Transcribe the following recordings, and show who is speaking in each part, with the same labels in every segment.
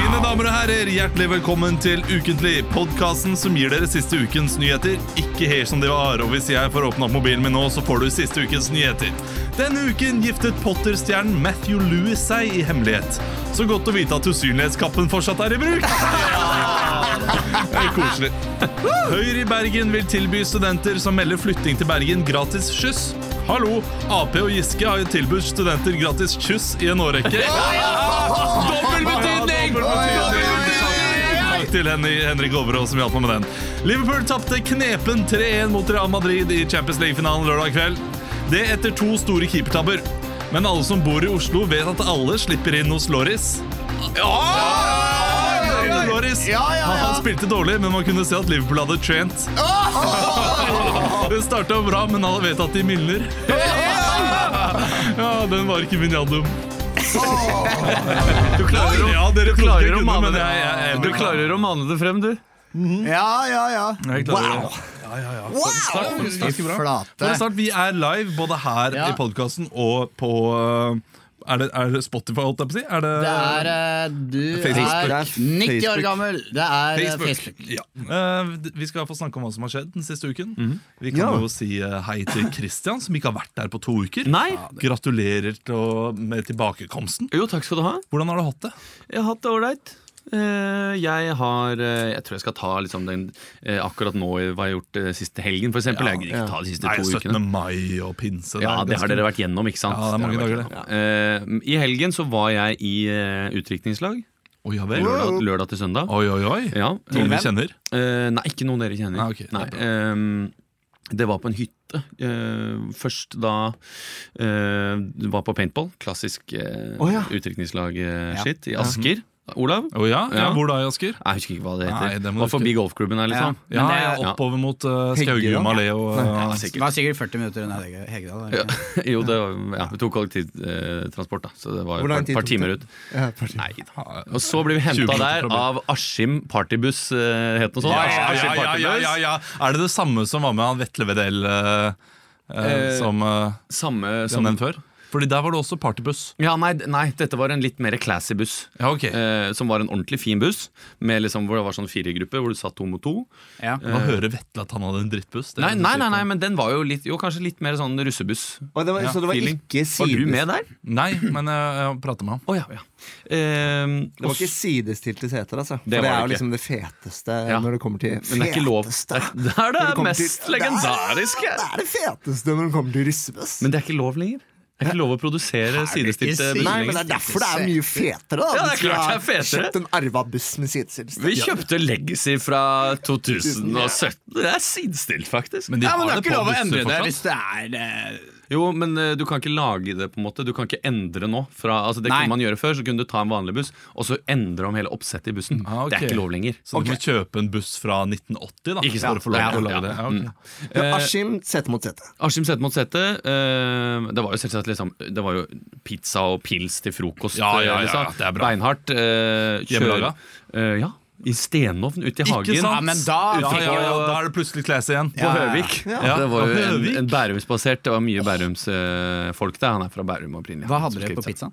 Speaker 1: Mine damer og herrer, hjertelig velkommen til Ukentlig, podkasten som gir dere siste ukens nyheter. Ikke helt som de var, og hvis jeg får åpna opp mobilen min nå, så får du siste ukens nyheter. Denne uken giftet Potter-stjernen Matthew Louis seg i hemmelighet. Så godt å vite at usynlighetskappen fortsatt er i bruk. Det er koselig. Høyre i Bergen vil tilby studenter som melder flytting til Bergen, gratis skyss. Hallo, Ap og Giske har jo tilbudt studenter gratis kyss i en årrekke. Dobbel betydning! Takk til Henry- Henrik Overå som hjalp meg med den. Liverpool tapte knepen 3-1 mot Real Madrid i Champions League-finalen lørdag kveld. Det etter to store keepertabber. Men alle som bor i Oslo, vet at alle slipper inn hos Loris. Ja, Loris. Han, han spilte dårlig, men man kunne se at Liverpool hadde trent. Det starta bra, men alle vet at de mildner. Ja, den var ikke min jadum.
Speaker 2: Du klarer å,
Speaker 1: Ja, dere trodde jeg
Speaker 2: du klarer å
Speaker 1: kunne,
Speaker 2: mane
Speaker 1: men
Speaker 2: det
Speaker 1: jeg, jeg, jeg
Speaker 2: Du klarer å mane det frem, du.
Speaker 3: Ja, ja, ja.
Speaker 2: Jeg klarer
Speaker 3: Wow!
Speaker 2: det.
Speaker 3: wow.
Speaker 1: Nå
Speaker 3: Fy
Speaker 1: er det
Speaker 3: flate.
Speaker 1: snart, Vi er live både her
Speaker 4: Ja.
Speaker 1: i podkasten og på øh, er det, er det Spotify, holdt jeg på å si? Er det,
Speaker 4: Det er eh, Du
Speaker 1: Facebook.
Speaker 4: er 90
Speaker 1: Facebook.
Speaker 4: år gammel. Det er eh,
Speaker 1: Facebook.
Speaker 4: Facebook.
Speaker 1: Ja. Eh, d- vi skal få snakke om hva som har skjedd den siste uken. Vi kan
Speaker 2: Mhm. Ja.
Speaker 1: jo si eh, hei til Christian, som ikke har vært der på to uker.
Speaker 2: Nei.
Speaker 1: Gratulerer til, å- med tilbakekomsten.
Speaker 2: Jo, takk skal du ha.
Speaker 1: Hvordan har du hatt det?
Speaker 2: Jeg har hatt det ålreit. Eh, Jeg har eh, Jeg tror jeg skal ta liksom den eh, akkurat nå i hva jeg har gjort eh, siste helgen, for eksempel. Jeg gidder ikke ta de siste
Speaker 1: Nei,
Speaker 2: to
Speaker 1: 17.
Speaker 2: ukene.
Speaker 1: mai og pinse.
Speaker 2: Ja, det har dere vært gjennom, ikke sant?
Speaker 1: Ja, det er mange
Speaker 2: har
Speaker 1: dager,
Speaker 2: vært gjennom. Eh, I helgen så var jeg i eh, utdrikningslag.
Speaker 1: Oi, ja vel.
Speaker 2: Lørdag, lørdag til søndag.
Speaker 1: Oi, oi, oi.
Speaker 2: Ja, eh,
Speaker 1: Noen vi kjenner?
Speaker 2: Eh, nei, ikke noen dere kjenner.
Speaker 1: Nei, ok, det er bra.
Speaker 2: ehm, det var på en hytte. eh, først da eh, du var på paintball. Klassisk uh,
Speaker 3: Å, ja.
Speaker 2: utdrikningslag-skitt
Speaker 1: Mhm.
Speaker 2: i Asker. Olav?
Speaker 1: Å ja? ja.
Speaker 2: Ja.
Speaker 1: Hvor da, i Asker?
Speaker 2: Nei, Jeg husker ikke hva det heter.
Speaker 1: Nei, det må
Speaker 2: var
Speaker 1: du
Speaker 2: forbi golfklubben her, liksom.
Speaker 1: Ja,
Speaker 2: Men det-
Speaker 1: ja, oppover mot uh,
Speaker 3: Hegge, da?
Speaker 1: Skaugum allé og
Speaker 2: Ja,
Speaker 1: uh,
Speaker 2: sikkert.
Speaker 4: var sikkert 40 minutter unna Hege- Hegedal. var det
Speaker 2: Ja,
Speaker 4: ikke?
Speaker 2: jo, det var, ja, vi tok kollektivtransport, da. Så det var
Speaker 3: Hvor
Speaker 2: jo
Speaker 3: lang
Speaker 2: et
Speaker 3: tid
Speaker 2: par
Speaker 3: tok
Speaker 2: timer
Speaker 3: det?
Speaker 2: ut.
Speaker 3: Ja, parti.
Speaker 2: Nei da. Og så ble vi
Speaker 1: 20
Speaker 2: henta
Speaker 1: minutter
Speaker 2: der
Speaker 1: fra
Speaker 2: av Askim Partybuss, eh, het noe sånt.
Speaker 1: ja, ja, ja,
Speaker 2: Askim
Speaker 1: ja,
Speaker 2: Partybuss.
Speaker 1: ja, ja. Er det det samme som var med han Vetle Vedel uh, uh,
Speaker 2: Eh,
Speaker 1: som uh,
Speaker 2: Samme
Speaker 1: som
Speaker 2: som
Speaker 1: nevnt før? Fordi der var det også partybuss.
Speaker 2: Ja, nei, d- nei, dette var en litt mer classy buss.
Speaker 1: Ja, ok.
Speaker 2: Eh, som var en ordentlig fin buss, med liksom, hvor det var sånn firegruppe, hvor du satt to mot to.
Speaker 4: Ja.
Speaker 1: Nå hører Vetle at han hadde en drittbuss. Det er
Speaker 2: Eh, Nei, nei, nei, nei
Speaker 1: litt-
Speaker 2: men den var jo litt Jo, kanskje litt mer sånn russebuss.
Speaker 3: Og det var,
Speaker 1: Ja,
Speaker 3: så det var
Speaker 2: feeling.
Speaker 3: ikke
Speaker 2: Var du
Speaker 3: sidestilte,
Speaker 2: med der?
Speaker 1: nei, men eh, jeg, jeg prater med ham.
Speaker 2: Å ja, ja. Ehm,
Speaker 3: det
Speaker 2: og
Speaker 3: var ikke sidestilte seter, altså. For
Speaker 2: Det
Speaker 3: det,
Speaker 2: var det
Speaker 3: er jo
Speaker 2: ikke.
Speaker 3: liksom det feteste
Speaker 2: Ja.
Speaker 3: når det kommer til
Speaker 2: men det er ikke lov.
Speaker 3: Feteste.
Speaker 2: Der, der det
Speaker 3: Når det
Speaker 2: er
Speaker 3: kommer
Speaker 2: mest
Speaker 3: til-
Speaker 2: legendariske!
Speaker 3: Det er det feteste når det kommer til russebuss.
Speaker 2: Men det er ikke lov lenger. Det er ikke lov å produsere sidestilte
Speaker 4: ikke si-
Speaker 3: Nei, men det
Speaker 2: bestillinger.
Speaker 3: er derfor det er mye fetere, da.
Speaker 2: Ja, det er
Speaker 3: Hvis vi
Speaker 2: klart det er
Speaker 3: har
Speaker 2: fetere.
Speaker 3: Kjøpt en arva buss med sidestilte.
Speaker 2: Vi kjøpte Legacy fra 2017. Det er sidestilt, faktisk.
Speaker 1: Men de
Speaker 4: Ja, men det
Speaker 1: har
Speaker 4: er
Speaker 1: det
Speaker 4: ikke
Speaker 1: på
Speaker 4: lov å endre det
Speaker 1: busser fortsatt.
Speaker 4: hvis det er eh,
Speaker 2: Jo, men eh, du kan ikke lage det på en måte. Du kan ikke endre nå. Fra, altså, det
Speaker 4: Nei.
Speaker 2: kunne man gjøre før, så kunne du ta en vanlig buss, og så endre om hele oppsettet i bussen.
Speaker 1: Ah, ok.
Speaker 2: Det er ikke lov lenger.
Speaker 1: Så du må kjøpe en buss fra 1980 da
Speaker 2: Ikke
Speaker 1: for å
Speaker 2: sant?
Speaker 1: få lov til å
Speaker 2: Ja,
Speaker 1: lage det. Ja,
Speaker 2: ja.
Speaker 1: ok.
Speaker 2: Mm.
Speaker 3: Ja, Askim sete mot sete.
Speaker 2: Askim sete mot sete. eh, det var jo selvsagt liksom, Det var jo pizza og pils til frokost.
Speaker 1: Ja, ja,
Speaker 2: eh,
Speaker 1: ja, ja,
Speaker 2: liksom.
Speaker 1: det er bra.
Speaker 2: Beinhardt. eh, kjøre-
Speaker 1: Hjemmelaga?
Speaker 2: Eh, ja. I stenovn ute i hagen.
Speaker 1: Ikke
Speaker 4: Ja,
Speaker 1: sant?
Speaker 4: men da
Speaker 1: ja,
Speaker 4: fikk
Speaker 1: ja, ja,
Speaker 2: jo-
Speaker 1: da er det plutselig classy igjen.
Speaker 2: På Høvik.
Speaker 1: Ja,
Speaker 2: Det var jo
Speaker 1: på
Speaker 2: en,
Speaker 1: Høvik.
Speaker 2: en bærumsbasert. Det var mye Bærums-folk der. Han er fra Bærum opprinnelig.
Speaker 4: Hva
Speaker 2: han
Speaker 4: hadde
Speaker 2: som
Speaker 4: dere
Speaker 2: skrev
Speaker 4: på
Speaker 2: seg.
Speaker 4: pizzaen?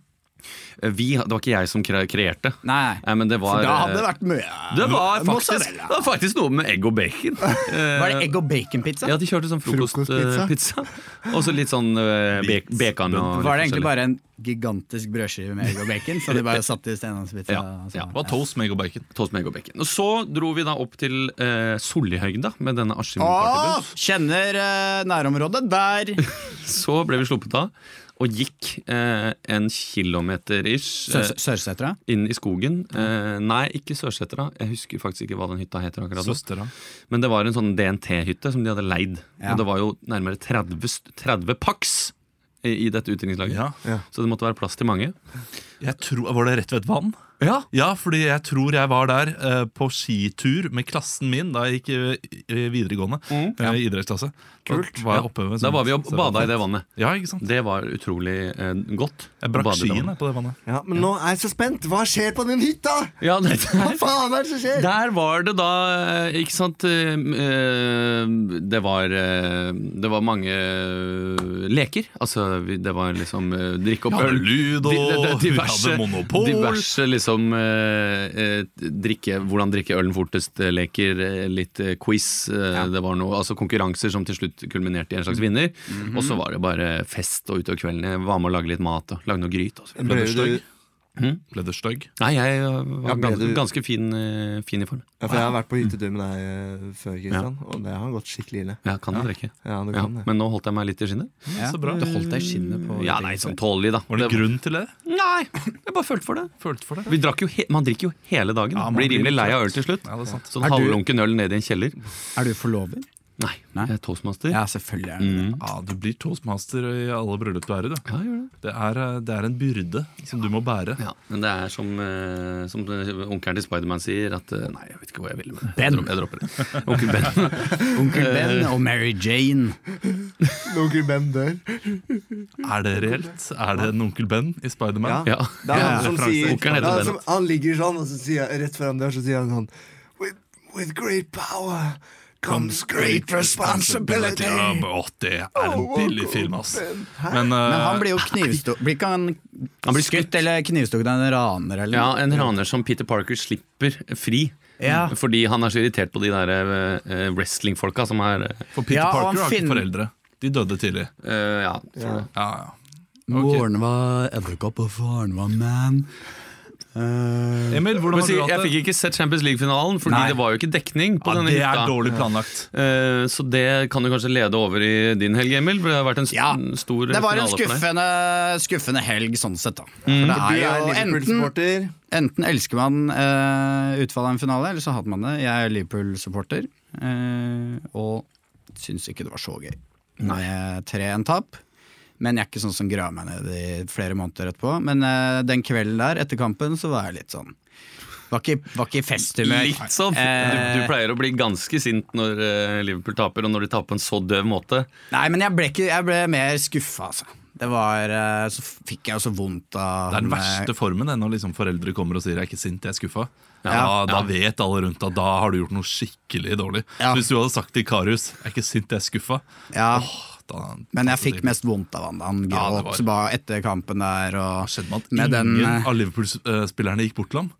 Speaker 2: Eh, Vi, det var ikke jeg som kre- kreerte.
Speaker 4: Nei.
Speaker 2: Nei, men det var
Speaker 4: For da
Speaker 2: eh,
Speaker 4: hadde det vært mye
Speaker 2: Det var, faktisk,
Speaker 4: Mozzarella.
Speaker 2: det var faktisk noe med egg og bacon. Eh,
Speaker 4: Var det egg og bacon-pizza?
Speaker 2: ja, De kjørte sånn frokostpizza.
Speaker 3: Frokostpizza.
Speaker 2: og så litt sånn eh, be-
Speaker 1: Bits.
Speaker 2: bacon. Og
Speaker 4: Var det egentlig bare en gigantisk brødskive med egg og bacon? Så de bare satte i Stenlandspizza?
Speaker 2: Ja,
Speaker 4: og så-
Speaker 2: ja.
Speaker 1: Det var toast, meg og bacon.
Speaker 2: Toast med egg og bacon. Og så dro vi da opp til eh, Sollihøgda med denne Askim
Speaker 4: Åh,
Speaker 2: partybuss.
Speaker 4: Kjenner eh, nærområdet der!
Speaker 2: Så ble vi sluppet av. og gikk eh, en kilometer ish eh,
Speaker 4: Sørs- Sørsetra?
Speaker 2: inn i skogen. Eh, nei, ikke Sørsetra. Jeg husker faktisk ikke hva den hytta heter. akkurat nå.
Speaker 1: Søstera.
Speaker 2: Men det var en sånn DNT-hytte som de hadde leid.
Speaker 4: Ja.
Speaker 2: Og det var jo nærmere 30, st- 30 paks i, i dette utdrikningslaget.
Speaker 1: Ja.
Speaker 2: Så det måtte være plass til mange.
Speaker 1: Jeg tror, var det rett ved et vann?
Speaker 2: Ja,
Speaker 1: Ja, fordi jeg tror jeg var der eh, på skitur med klassen min da jeg gikk i i videregående.
Speaker 2: Mm.
Speaker 1: eh, idrettsklasse. Kult. Da var jeg oppe ved sånn-
Speaker 2: Da var vi og bada i det vannet.
Speaker 1: Ja, ikke sant?
Speaker 2: Det var utrolig eh, godt.
Speaker 1: Jeg brakk
Speaker 2: Badet i det
Speaker 1: skien jeg,
Speaker 2: vannet.
Speaker 1: på det vannet.
Speaker 3: Ja, men nå er jeg så spent. Hva skjer på den hytta?
Speaker 2: Ja, det
Speaker 3: Hva
Speaker 2: der,
Speaker 3: faen er det som skjer?
Speaker 2: der var det da eh, Ikke sant eh, eh, Det var eh, Det var mange eh, leker. Altså, vi- det var liksom eh, drikke opp
Speaker 1: Ja,
Speaker 2: øl.
Speaker 1: lyd
Speaker 2: Di-
Speaker 1: og
Speaker 2: det- det-
Speaker 1: vi hadde monopol.
Speaker 2: Diverse liksom eh, eh, drikke, Hvordan drikke ølen fortest eh, leker, eh, litt eh, quiz. eh, Det var noe, altså Konkurranser som til slutt kulminerte i en slags vinner. Og så var det bare fest og utover kvelden. Jeg var med å lage litt mat og lage noe gryt. Og så.
Speaker 1: Ble du
Speaker 3: Ble
Speaker 1: stygg?
Speaker 3: du-
Speaker 1: Ble du stygg?
Speaker 2: Nei, jeg eh, var
Speaker 3: Ja, ble
Speaker 2: ganske,
Speaker 3: du-
Speaker 2: ganske fin, eh, fin i form.
Speaker 3: Ja, for jeg har vært på hyttetur med deg eh, før, Kristian, og det har gått skikkelig ille.
Speaker 2: Jeg kan jo drikke.
Speaker 3: Ja, det
Speaker 2: Ja,
Speaker 3: kan det.
Speaker 2: men nå holdt jeg meg litt i skinnet.
Speaker 4: Ja.
Speaker 1: Så bra.
Speaker 4: Du holdt deg i skinnet på
Speaker 2: Ja, nei, sånn tålelig, da.
Speaker 1: Var det
Speaker 2: Det-
Speaker 1: grunn til det?
Speaker 2: Nei, jeg bare følte for det.
Speaker 1: Følte for det?
Speaker 2: Vi drakk jo he man drikker jo hele dagen.
Speaker 1: Ja, man
Speaker 2: blir
Speaker 1: blir
Speaker 2: rimelig lei av øl
Speaker 1: litt
Speaker 2: til slutt.
Speaker 1: Ja, det er sant.
Speaker 2: Sånn
Speaker 4: Er du-
Speaker 2: halvlunken øl nede i en kjeller.
Speaker 4: Er du forlover?
Speaker 2: Nei,
Speaker 4: Nei.
Speaker 2: jeg er toastmaster.
Speaker 4: Ja, selvfølgelig er du det.
Speaker 1: Ja, du blir toastmaster i alle bryllup du er i, du.
Speaker 2: Ja, jeg gjør det.
Speaker 1: Det er, eh, det er en byrde som du må bære.
Speaker 2: Ja, men det er som, eh, som onkelen til Spiderman sier, at eh, Nei, jeg vet ikke hva jeg vil med det.
Speaker 4: Ben.
Speaker 2: Jeg dropper- Jeg dropper det. Onkel Ben.
Speaker 4: Onkel Ben og Mary Jane.
Speaker 3: Onkel Ben dør.
Speaker 1: Er det reelt? Er det en onkel Ben i Spiderman?
Speaker 2: Ja.
Speaker 3: Det er han som
Speaker 1: referanse.
Speaker 3: sier
Speaker 2: Onkelen heter
Speaker 3: det er
Speaker 2: Ben.
Speaker 3: som, Han ligger sånn, og så sier jeg, rett før han dør, så sier han sånn With, with great power comes great responsibility. Oh,
Speaker 1: Ja, men, Å, det er en billig film, ass.
Speaker 3: Hæ?
Speaker 1: Men, eh,
Speaker 4: Men han blir jo knivstukket Blir ikke han,
Speaker 2: blir
Speaker 4: skutt eller knivstukket av en raner eller
Speaker 2: Ja, en raner som Peter Parker slipper fri.
Speaker 4: Ja.
Speaker 2: Fordi han er så irritert på de der eh, eh, wrestlingfolka som er eh,
Speaker 1: For Peter
Speaker 4: Ja, og
Speaker 1: Parker
Speaker 4: han
Speaker 1: har ikke
Speaker 4: finner-
Speaker 1: foreldre. De dødde tidlig.
Speaker 2: eh, Ja. ja.
Speaker 1: Ja, ja. Mm.
Speaker 4: Moren var edderkopp, og faren var man. Eh,
Speaker 1: Emil, hvordan har
Speaker 2: Si,
Speaker 1: du
Speaker 2: jeg
Speaker 1: hatt
Speaker 2: fikk
Speaker 1: det?
Speaker 2: ikke sett Champions League-finalen, fordi
Speaker 4: Nei.
Speaker 2: det var jo ikke dekning på
Speaker 1: Ja,
Speaker 2: denne
Speaker 1: det er
Speaker 2: hytta.
Speaker 1: dårlig planlagt.
Speaker 2: Eh, Så det kan du kanskje lede over i din helg, Emil. For det har vært en st
Speaker 4: Ja,
Speaker 2: stor
Speaker 4: det var en
Speaker 2: finale for deg.
Speaker 4: skuffende, skuffende helg sånn sett, da. For
Speaker 3: Du
Speaker 4: det er
Speaker 3: er
Speaker 4: jo enten,
Speaker 3: Liverpool-supporter.
Speaker 4: enten elsker man eh, utfallet av en finale, eller så hater man det. Jeg er Liverpool-supporter, eh, og syns ikke det var så gøy. Med 3-1-tap. Men jeg er ikke sånn som graver meg ned i flere måneder etterpå. Men eh, den kvelden der, etter kampen, så var jeg litt sånn Var ikke, var ikke i festhumør.
Speaker 2: Litt sånn. Du,
Speaker 4: Eh,
Speaker 2: du pleier å bli ganske sint når eh, Liverpool taper, og når de taper på en så døv måte.
Speaker 4: Nei, men jeg ble, ikke, jeg ble mer skuffa, altså. Det var, eh, så fikk jeg jo så vondt av
Speaker 1: Det er den
Speaker 4: han, eh,
Speaker 1: verste formen det, når liksom foreldre kommer og sier 'jeg er ikke sint, jeg er skuffa'. Ja, da vet alle rundt at da har du gjort noe skikkelig dårlig.
Speaker 4: Ja.
Speaker 1: Hvis du hadde sagt til Karius 'jeg er ikke sint, jeg er skuffa',
Speaker 4: Ja,
Speaker 1: åh, da altså,
Speaker 4: men jeg fikk mest vondt av han da han
Speaker 1: Ja, det
Speaker 4: gråt
Speaker 1: var-
Speaker 4: så bare etter kampen der. Og
Speaker 1: skjedde med at
Speaker 4: med den,
Speaker 1: ingen
Speaker 4: eh,
Speaker 1: av Liverpool-spillerne gikk bort til ham.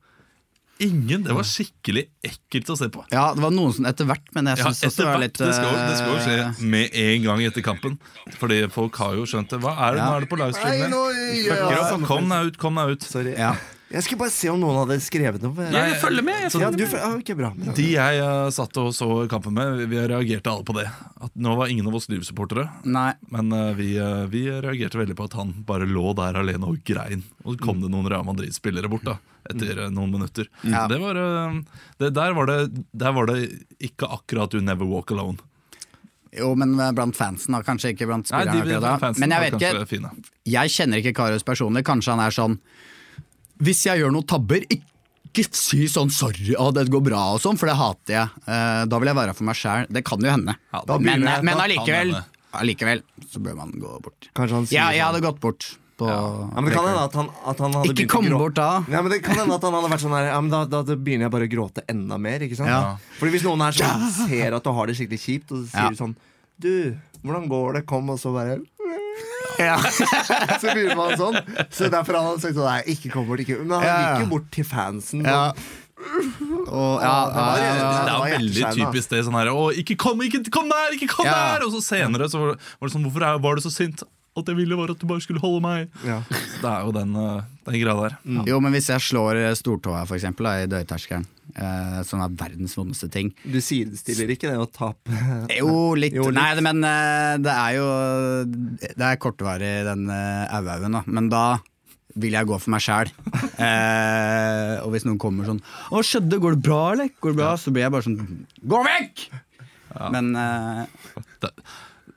Speaker 1: Ingen! Det var skikkelig ekkelt å se på.
Speaker 4: ja, det var noen som etter hvert, men jeg
Speaker 1: Ja,
Speaker 4: syns også
Speaker 1: etter
Speaker 4: det var
Speaker 1: hvert.
Speaker 4: litt
Speaker 1: det, skal, jo- det skal jo
Speaker 4: eh,
Speaker 1: skje med en gang etter kampen. Fordi folk har jo skjønt det. Hva er det nå er det på
Speaker 3: Nei,
Speaker 1: livestreamen?
Speaker 3: nå gjør jeg
Speaker 1: Fucker
Speaker 3: samme
Speaker 1: opp. Kom deg ut, kom deg ut.
Speaker 3: Sorry.
Speaker 4: eh, Ja.
Speaker 3: Jeg skulle bare se om noen hadde skrevet noe.
Speaker 2: Ja, jeg følger med! Jeg
Speaker 3: Ja,
Speaker 2: følger
Speaker 3: du,
Speaker 2: med.
Speaker 3: ja, ok, bra. bra.
Speaker 1: De jeg eh, satt og så kampen med, vi- vi reagerte alle på det. At nå var ingen av oss Liv-supportere.
Speaker 4: Nei.
Speaker 1: Men eh, vi, eh, vi reagerte veldig på at han bare lå der alene og grein. Og så kom det noen Real Madrid-spillere bort da etter eh, noen minutter.
Speaker 4: Ja.
Speaker 1: Det var, eh, det, der, var det, der var det ikke akkurat You Never Walk Alone.
Speaker 4: Jo, men eh, blant fansen, da. Kanskje ikke blant
Speaker 1: Nei,
Speaker 4: spillerne.
Speaker 1: de
Speaker 4: akkurat da.
Speaker 1: fansen
Speaker 4: men jeg
Speaker 1: var
Speaker 4: vet
Speaker 1: kanskje
Speaker 4: ikke,
Speaker 1: fine.
Speaker 4: jeg kjenner ikke Karius personlig. Kanskje han er sånn Hvis jeg gjør noen tabber, ikke si sånn 'sorry, å, det går bra' og sånn, for det hater jeg. Eh, da vil jeg være for meg sjæl. Det kan jo hende.
Speaker 1: Ja, da
Speaker 4: men
Speaker 1: begynner jeg-
Speaker 4: men
Speaker 1: da kan
Speaker 4: allikevel,
Speaker 1: hende.
Speaker 4: allikevel så bør man gå bort.
Speaker 3: Kanskje han sier
Speaker 4: Ja, jeg
Speaker 3: sånn.
Speaker 4: hadde gått bort. På
Speaker 3: Ja, men det kan hende at han, at han hadde
Speaker 4: Ikke
Speaker 3: begynt å
Speaker 4: kom
Speaker 3: grå-
Speaker 4: bort da.
Speaker 3: Ja, men det kan hende at han hadde vært sånn her Ja, men da, da, da begynner jeg bare å gråte enda mer, ikke sant?
Speaker 4: Ja.
Speaker 3: Fordi hvis noen her sånn, ser at du har det skikkelig kjipt, og så sier
Speaker 4: Ja.
Speaker 3: du sånn Du, hvordan går det? Kom, og så bare
Speaker 4: Ja.
Speaker 3: Så begynner man sånn. Så derfor har han sagt sånn Nei, ikke kom bort, ikke Men han
Speaker 4: Ja.
Speaker 3: gikk jo bort til fansen. og-
Speaker 4: Ja. Og, ja,
Speaker 3: det
Speaker 4: ja,
Speaker 3: var-
Speaker 4: ja,
Speaker 1: Det
Speaker 3: det
Speaker 1: er
Speaker 3: var
Speaker 1: jo veldig
Speaker 3: hjerteskjærende, altså.
Speaker 1: typisk det sånn her Å, ikke kom, ikke kom der, ikke kom
Speaker 4: Ja.
Speaker 1: der! Og så senere så var det var det sånn Hvorfor er- var du så sint? Alt jeg ville, var at du bare skulle holde meg.
Speaker 3: Ja.
Speaker 1: Så det er jo den, eh, den greia der.
Speaker 4: Jo, men hvis jeg slår eh, stortåa for eksempel, da, i dørterskelen, eh, som er verdens vondeste ting
Speaker 3: Du sidestiller ikke det å tape
Speaker 4: Jo, litt.
Speaker 3: Jo, litt.
Speaker 4: Nei, det- men eh, det er jo Det er kortvarig, den eh, auhaugen, da. Men da vil jeg gå for meg sjæl. Eh, og hvis noen kommer sånn 'Å, skjedde? Går det bra, eller?' Går det bra? Så blir jeg bare sånn 'Gå vekk!' Men eh,
Speaker 1: Da,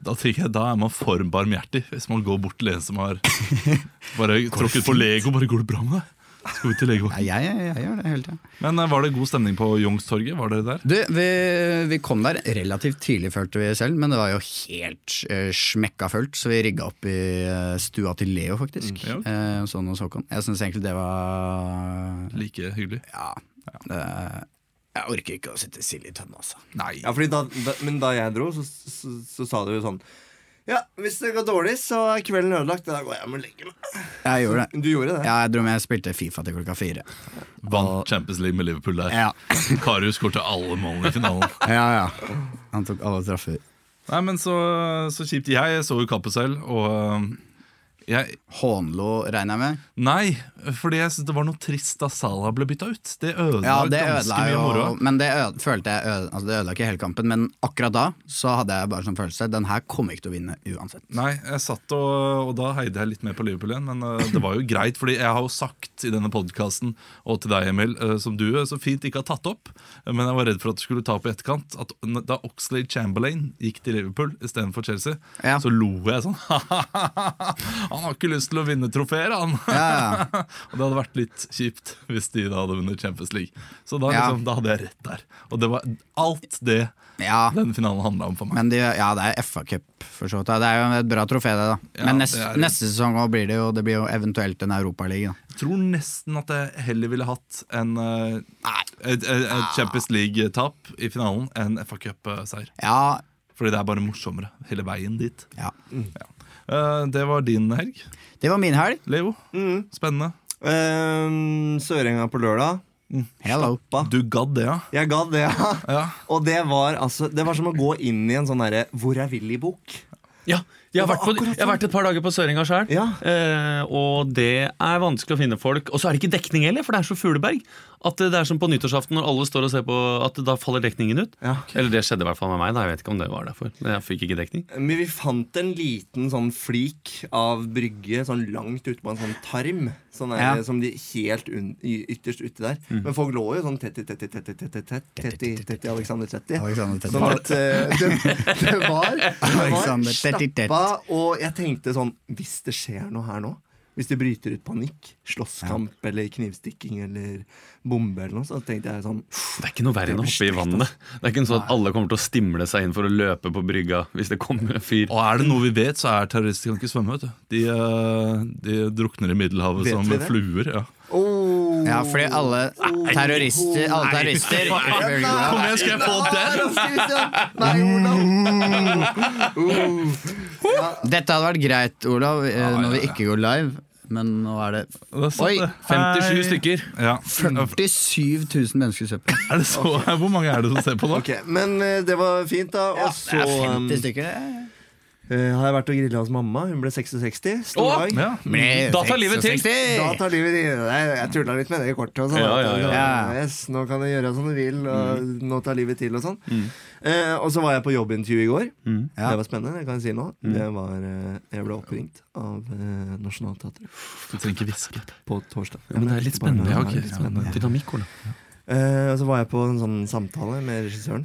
Speaker 1: da tenker jeg, da er man for barmhjertig hvis man går bort til en som har bare tråkket på Lego. Bare 'Går det bra med deg?' Skal vi til
Speaker 4: nei,
Speaker 1: legevakten?
Speaker 4: jeg, jeg, jeg gjør det hele tida.
Speaker 1: Men eh, var det god stemning på Youngstorget? Var dere der?
Speaker 4: Du, vi, vi kom der relativt tidlig, følte vi selv, men det var jo helt eh, smekka fullt, så vi rigga opp i eh, stua til Leo, faktisk.
Speaker 1: Mm,
Speaker 4: Eh, sånn hos Håkon. Jeg syns egentlig det var
Speaker 1: Like hyggelig?
Speaker 4: Ja. Det- jeg orker ikke å sitte sild i tønne, altså.
Speaker 1: Nei.
Speaker 3: Ja, fordi da, da, men da jeg dro, så, så, så sa du jo sånn Ja, hvis det går dårlig, så er kvelden ødelagt. Da går jeg hjem og legger meg.
Speaker 4: Jeg gjorde det.
Speaker 3: Du gjorde det?
Speaker 4: Ja, jeg dro med jeg spilte Fifa til klokka fire.
Speaker 1: Vant Champions League med Liverpool der.
Speaker 4: Ja,
Speaker 1: Karius skårte alle målene i finalen.
Speaker 4: ja. ja. Han tok alle straffer.
Speaker 1: Nei, men så, så kjipt. Jeg så jo kampen selv, og øhm, jeg,
Speaker 4: Hånlo regner jeg med.
Speaker 1: Nei, fordi jeg syntes det var noe trist da Salah ble bytta ut. Det ødela
Speaker 4: Ja, det
Speaker 1: ganske
Speaker 4: ødela
Speaker 1: mye av moroa.
Speaker 4: jo Men det øde, følte jeg øde, altså det ødela ikke hele kampen, men akkurat da så hadde jeg bare sånn følelse den her kommer ikke til å vinne uansett.
Speaker 1: Nei, jeg satt og, og da heide jeg litt mer på Liverpool igjen, men øh, det var jo greit. Fordi jeg har jo sagt i denne podkasten, og til deg, Emil, øh, som du øh, så fint ikke har tatt opp, øh, men jeg var redd for at du skulle ta opp i etterkant, at n- da Oxlade Chamberlain gikk til Liverpool istedenfor Chelsea,
Speaker 4: Ja.
Speaker 1: så lo jeg sånn. han har ikke lyst til å vinne trofeer, han!
Speaker 4: Ja,
Speaker 1: og det hadde vært litt kjipt hvis de da hadde vunnet Champions League. Så da,
Speaker 4: Ja.
Speaker 1: liksom, da hadde jeg rett der. Og det var alt det
Speaker 4: ja.
Speaker 1: den finalen handla om for meg.
Speaker 4: Men de, ja, det er FA-cup, for så vidt. da. Det er jo et bra trofé, det, da.
Speaker 1: Ja,
Speaker 4: Men nest,
Speaker 1: det er det.
Speaker 4: neste sesong også blir det jo Det blir jo eventuelt en Europaliga. da.
Speaker 1: Jeg tror nesten at jeg heller ville hatt en eh, et, et,
Speaker 3: Ah.
Speaker 1: et Champions League-tap i finalen enn FA Cup-seier.
Speaker 4: Ja,
Speaker 1: Fordi det er bare morsommere hele veien dit.
Speaker 4: ja.
Speaker 1: Eh, det var din helg,
Speaker 4: Det var min helg.
Speaker 1: Leo.
Speaker 3: Mm.
Speaker 1: Spennende.
Speaker 3: Ehm, Sørenga på lørdag.
Speaker 4: Hello.
Speaker 3: Ba.
Speaker 1: Du gadd det, ja?
Speaker 3: Jeg ga det, ja.
Speaker 1: Ja,
Speaker 3: Og det var altså Det var som å gå inn i en sånn derre Hvor er Willy-bok.
Speaker 5: Ja, jeg har,
Speaker 3: Det var
Speaker 5: vært på,
Speaker 3: akkurat
Speaker 5: jeg har vært et par dager på Søringa sjøl,
Speaker 3: Ja.
Speaker 5: eh, og det er vanskelig å finne folk. Og så er det ikke dekning heller, for det er så fugleberg. At det er som på nyttårsaften når alle står og ser på, at da faller dekningen ut.
Speaker 3: Ja.
Speaker 5: Eller det skjedde i hvert fall med meg. da, Jeg vet ikke om det var derfor. men Jeg fikk ikke dekning.
Speaker 3: Men vi fant en liten sånn flik av brygge sånn langt ute på en sånn tarm. Sånn der,
Speaker 4: Ja.
Speaker 3: Som de helt un y- ytterst uti der. Men folk lå jo sånn tett i tett i tett i tett i tett i tett i tett i Alexander Tetti.
Speaker 4: Alexander Tetti.
Speaker 3: Sånn at eh, det, det var, det var
Speaker 4: Alexander Tetti Tetti.
Speaker 3: stappa, og jeg tenkte sånn Hvis det skjer noe her nå hvis det bryter ut panikk, slåsskamp eller knivstikking eller bombe, eller noe, så tenkte jeg sånn
Speaker 5: Det er ikke noe verre enn å hoppe i vannet. Det er ikke sånn at alle kommer til å stimle seg inn for å løpe på brygga hvis det kommer en fyr.
Speaker 1: Og er det noe vi vet, så er terrorister kan ikke svømme. vet du De, eh, de drukner i Middelhavet
Speaker 3: Vet vi
Speaker 1: som
Speaker 3: det?
Speaker 1: fluer. Ja.
Speaker 3: oh,
Speaker 4: Ja, fordi alle terrorister Alle terrorister
Speaker 1: Kom igjen, skal jeg få den?
Speaker 3: Nei,
Speaker 5: Mm.
Speaker 3: Olav! Uh.
Speaker 4: Dette hadde vært greit, Olav, eh, når vi ikke går live. Men nå er det
Speaker 1: Det er sant,
Speaker 4: Oi!
Speaker 1: det.
Speaker 5: 57
Speaker 1: Hei.
Speaker 5: stykker.
Speaker 1: Ja.
Speaker 4: 47 000 mennesker ser på.
Speaker 1: Er det så, hvor mange er det som ser på nå?
Speaker 3: Ok, Men eh, det var fint, da. Og så um,
Speaker 4: 50 stykker, det.
Speaker 3: eh, har jeg vært og grilla hos mamma. Hun ble 66. Stor
Speaker 5: Å!
Speaker 3: dag.
Speaker 1: Ja.
Speaker 4: Ble
Speaker 5: Da tar livet til.
Speaker 4: 66.
Speaker 3: Da tar livet i Nei, Jeg tulla litt med det kortet. Og sånn,
Speaker 5: Ja, ja, Mm. ja.
Speaker 3: at, eh, Yes, nå kan jeg gjøre som du vil, og nå tar livet til og sånn.
Speaker 5: Mm.
Speaker 3: Eh, og så var jeg på jobbintervju i går.
Speaker 4: Ja.
Speaker 3: Det var spennende. det kan Jeg si nå
Speaker 5: Mm.
Speaker 3: Det var, eh, jeg ble oppringt av eh, Nationaltheatret
Speaker 1: Du trenger ikke hviske.
Speaker 3: på torsdag.
Speaker 5: Ja, men det er litt
Speaker 3: Bare-
Speaker 5: spennende. Ja,
Speaker 3: det er litt spennende.
Speaker 5: ok. Dynamikk, Ola.
Speaker 3: Eh, og så var jeg på en sånn samtale med regissøren.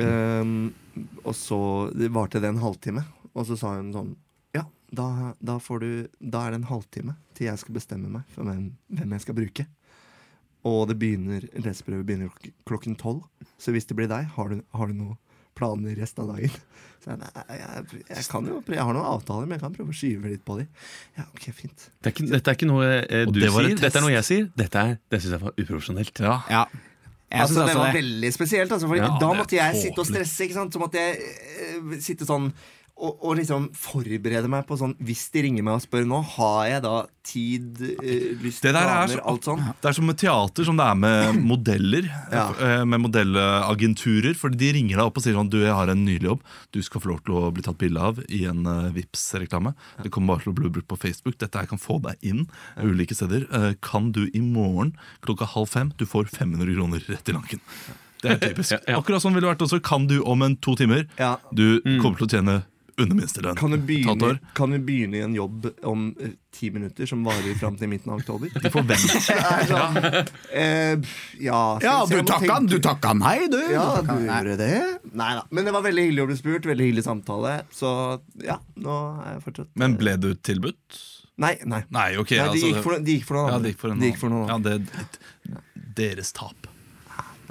Speaker 3: Eh, og så det varte det en halvtime. Og så sa hun sånn Ja, da, da får du Da er det en halvtime til jeg skal bestemme meg for hvem, hvem jeg skal bruke. Og det begynner leseprøve begynner klok klokken tolv. Så hvis det blir deg, har du, har du noen planer resten av dagen? Så jeg, nei, jeg, jeg kan jo prøve- Jeg har noen avtaler, men jeg kan prøve å skyve litt på de. Ja, ok, fint
Speaker 5: Det er ikke, dette er ikke noe eh,
Speaker 1: Og
Speaker 5: du
Speaker 1: det var en
Speaker 5: sier, dette er noe jeg
Speaker 1: test.
Speaker 5: sier. Dette er, det syns jeg var uprofesjonelt.
Speaker 1: Ja.
Speaker 4: Ja. Jeg synes
Speaker 3: altså, det
Speaker 4: også
Speaker 3: var
Speaker 4: det.
Speaker 3: veldig spesielt. Altså, for
Speaker 1: Ja,
Speaker 3: da
Speaker 1: det er
Speaker 3: måtte jeg sitte og
Speaker 1: tåpelig.
Speaker 3: stresse. Ikke sant? Så måtte jeg eh, sitte sånn og, og liksom forberede meg på sånn Hvis de ringer meg og spør nå, har jeg da tid, eh, lyst,
Speaker 1: Det der er
Speaker 3: planer,
Speaker 1: så-
Speaker 3: alt sånn?
Speaker 1: Det er som med teater, som det er med modeller.
Speaker 3: Ja.
Speaker 1: eh, Med modellagenturer. For de ringer deg opp og sier sånn Du, jeg har en nylig jobb. Du skal få lov til å bli tatt bilde av i en eh, Vipps reklame Det kommer bare til å bli brukt på Facebook. Dette her kan få deg inn ulike steder. Eh, Kan du i morgen klokka halv fem? Du får 500 kroner rett i lanken. Det er typisk.
Speaker 5: Ja, ja.
Speaker 1: Akkurat sånn ville det vært også. Kan du om en to timer?
Speaker 3: Ja.
Speaker 1: Du kommer til å tjene under minstelønn.
Speaker 3: Kan du,
Speaker 1: Et halvt
Speaker 3: begynne,
Speaker 1: år.
Speaker 3: kan du begynne i en jobb om eh, ti minutter, som varer fram til midten av oktober?
Speaker 1: De får vente.
Speaker 3: Det er sånn, eh, ja, skal
Speaker 4: Ja,
Speaker 3: vi se,
Speaker 4: du
Speaker 3: jeg må
Speaker 4: takka,
Speaker 3: tenke-
Speaker 4: du takka meg, du!
Speaker 3: Ja,
Speaker 4: Du
Speaker 3: du
Speaker 4: takka- Nei.
Speaker 3: gjorde det? Nei da. Men det var veldig hyggelig å bli spurt. Veldig hyggelig samtale. Så ja, nå er jeg fortsatt
Speaker 1: Men ble du tilbudt?
Speaker 3: Nei, nei.
Speaker 1: Nei, ok.
Speaker 3: nei de,
Speaker 1: altså-
Speaker 3: gikk for, de gikk for noen
Speaker 1: Ja,
Speaker 3: andre.
Speaker 1: det gikk for en
Speaker 3: De gikk for noen
Speaker 1: annen.
Speaker 3: andre.
Speaker 1: Ja, det, deres tap.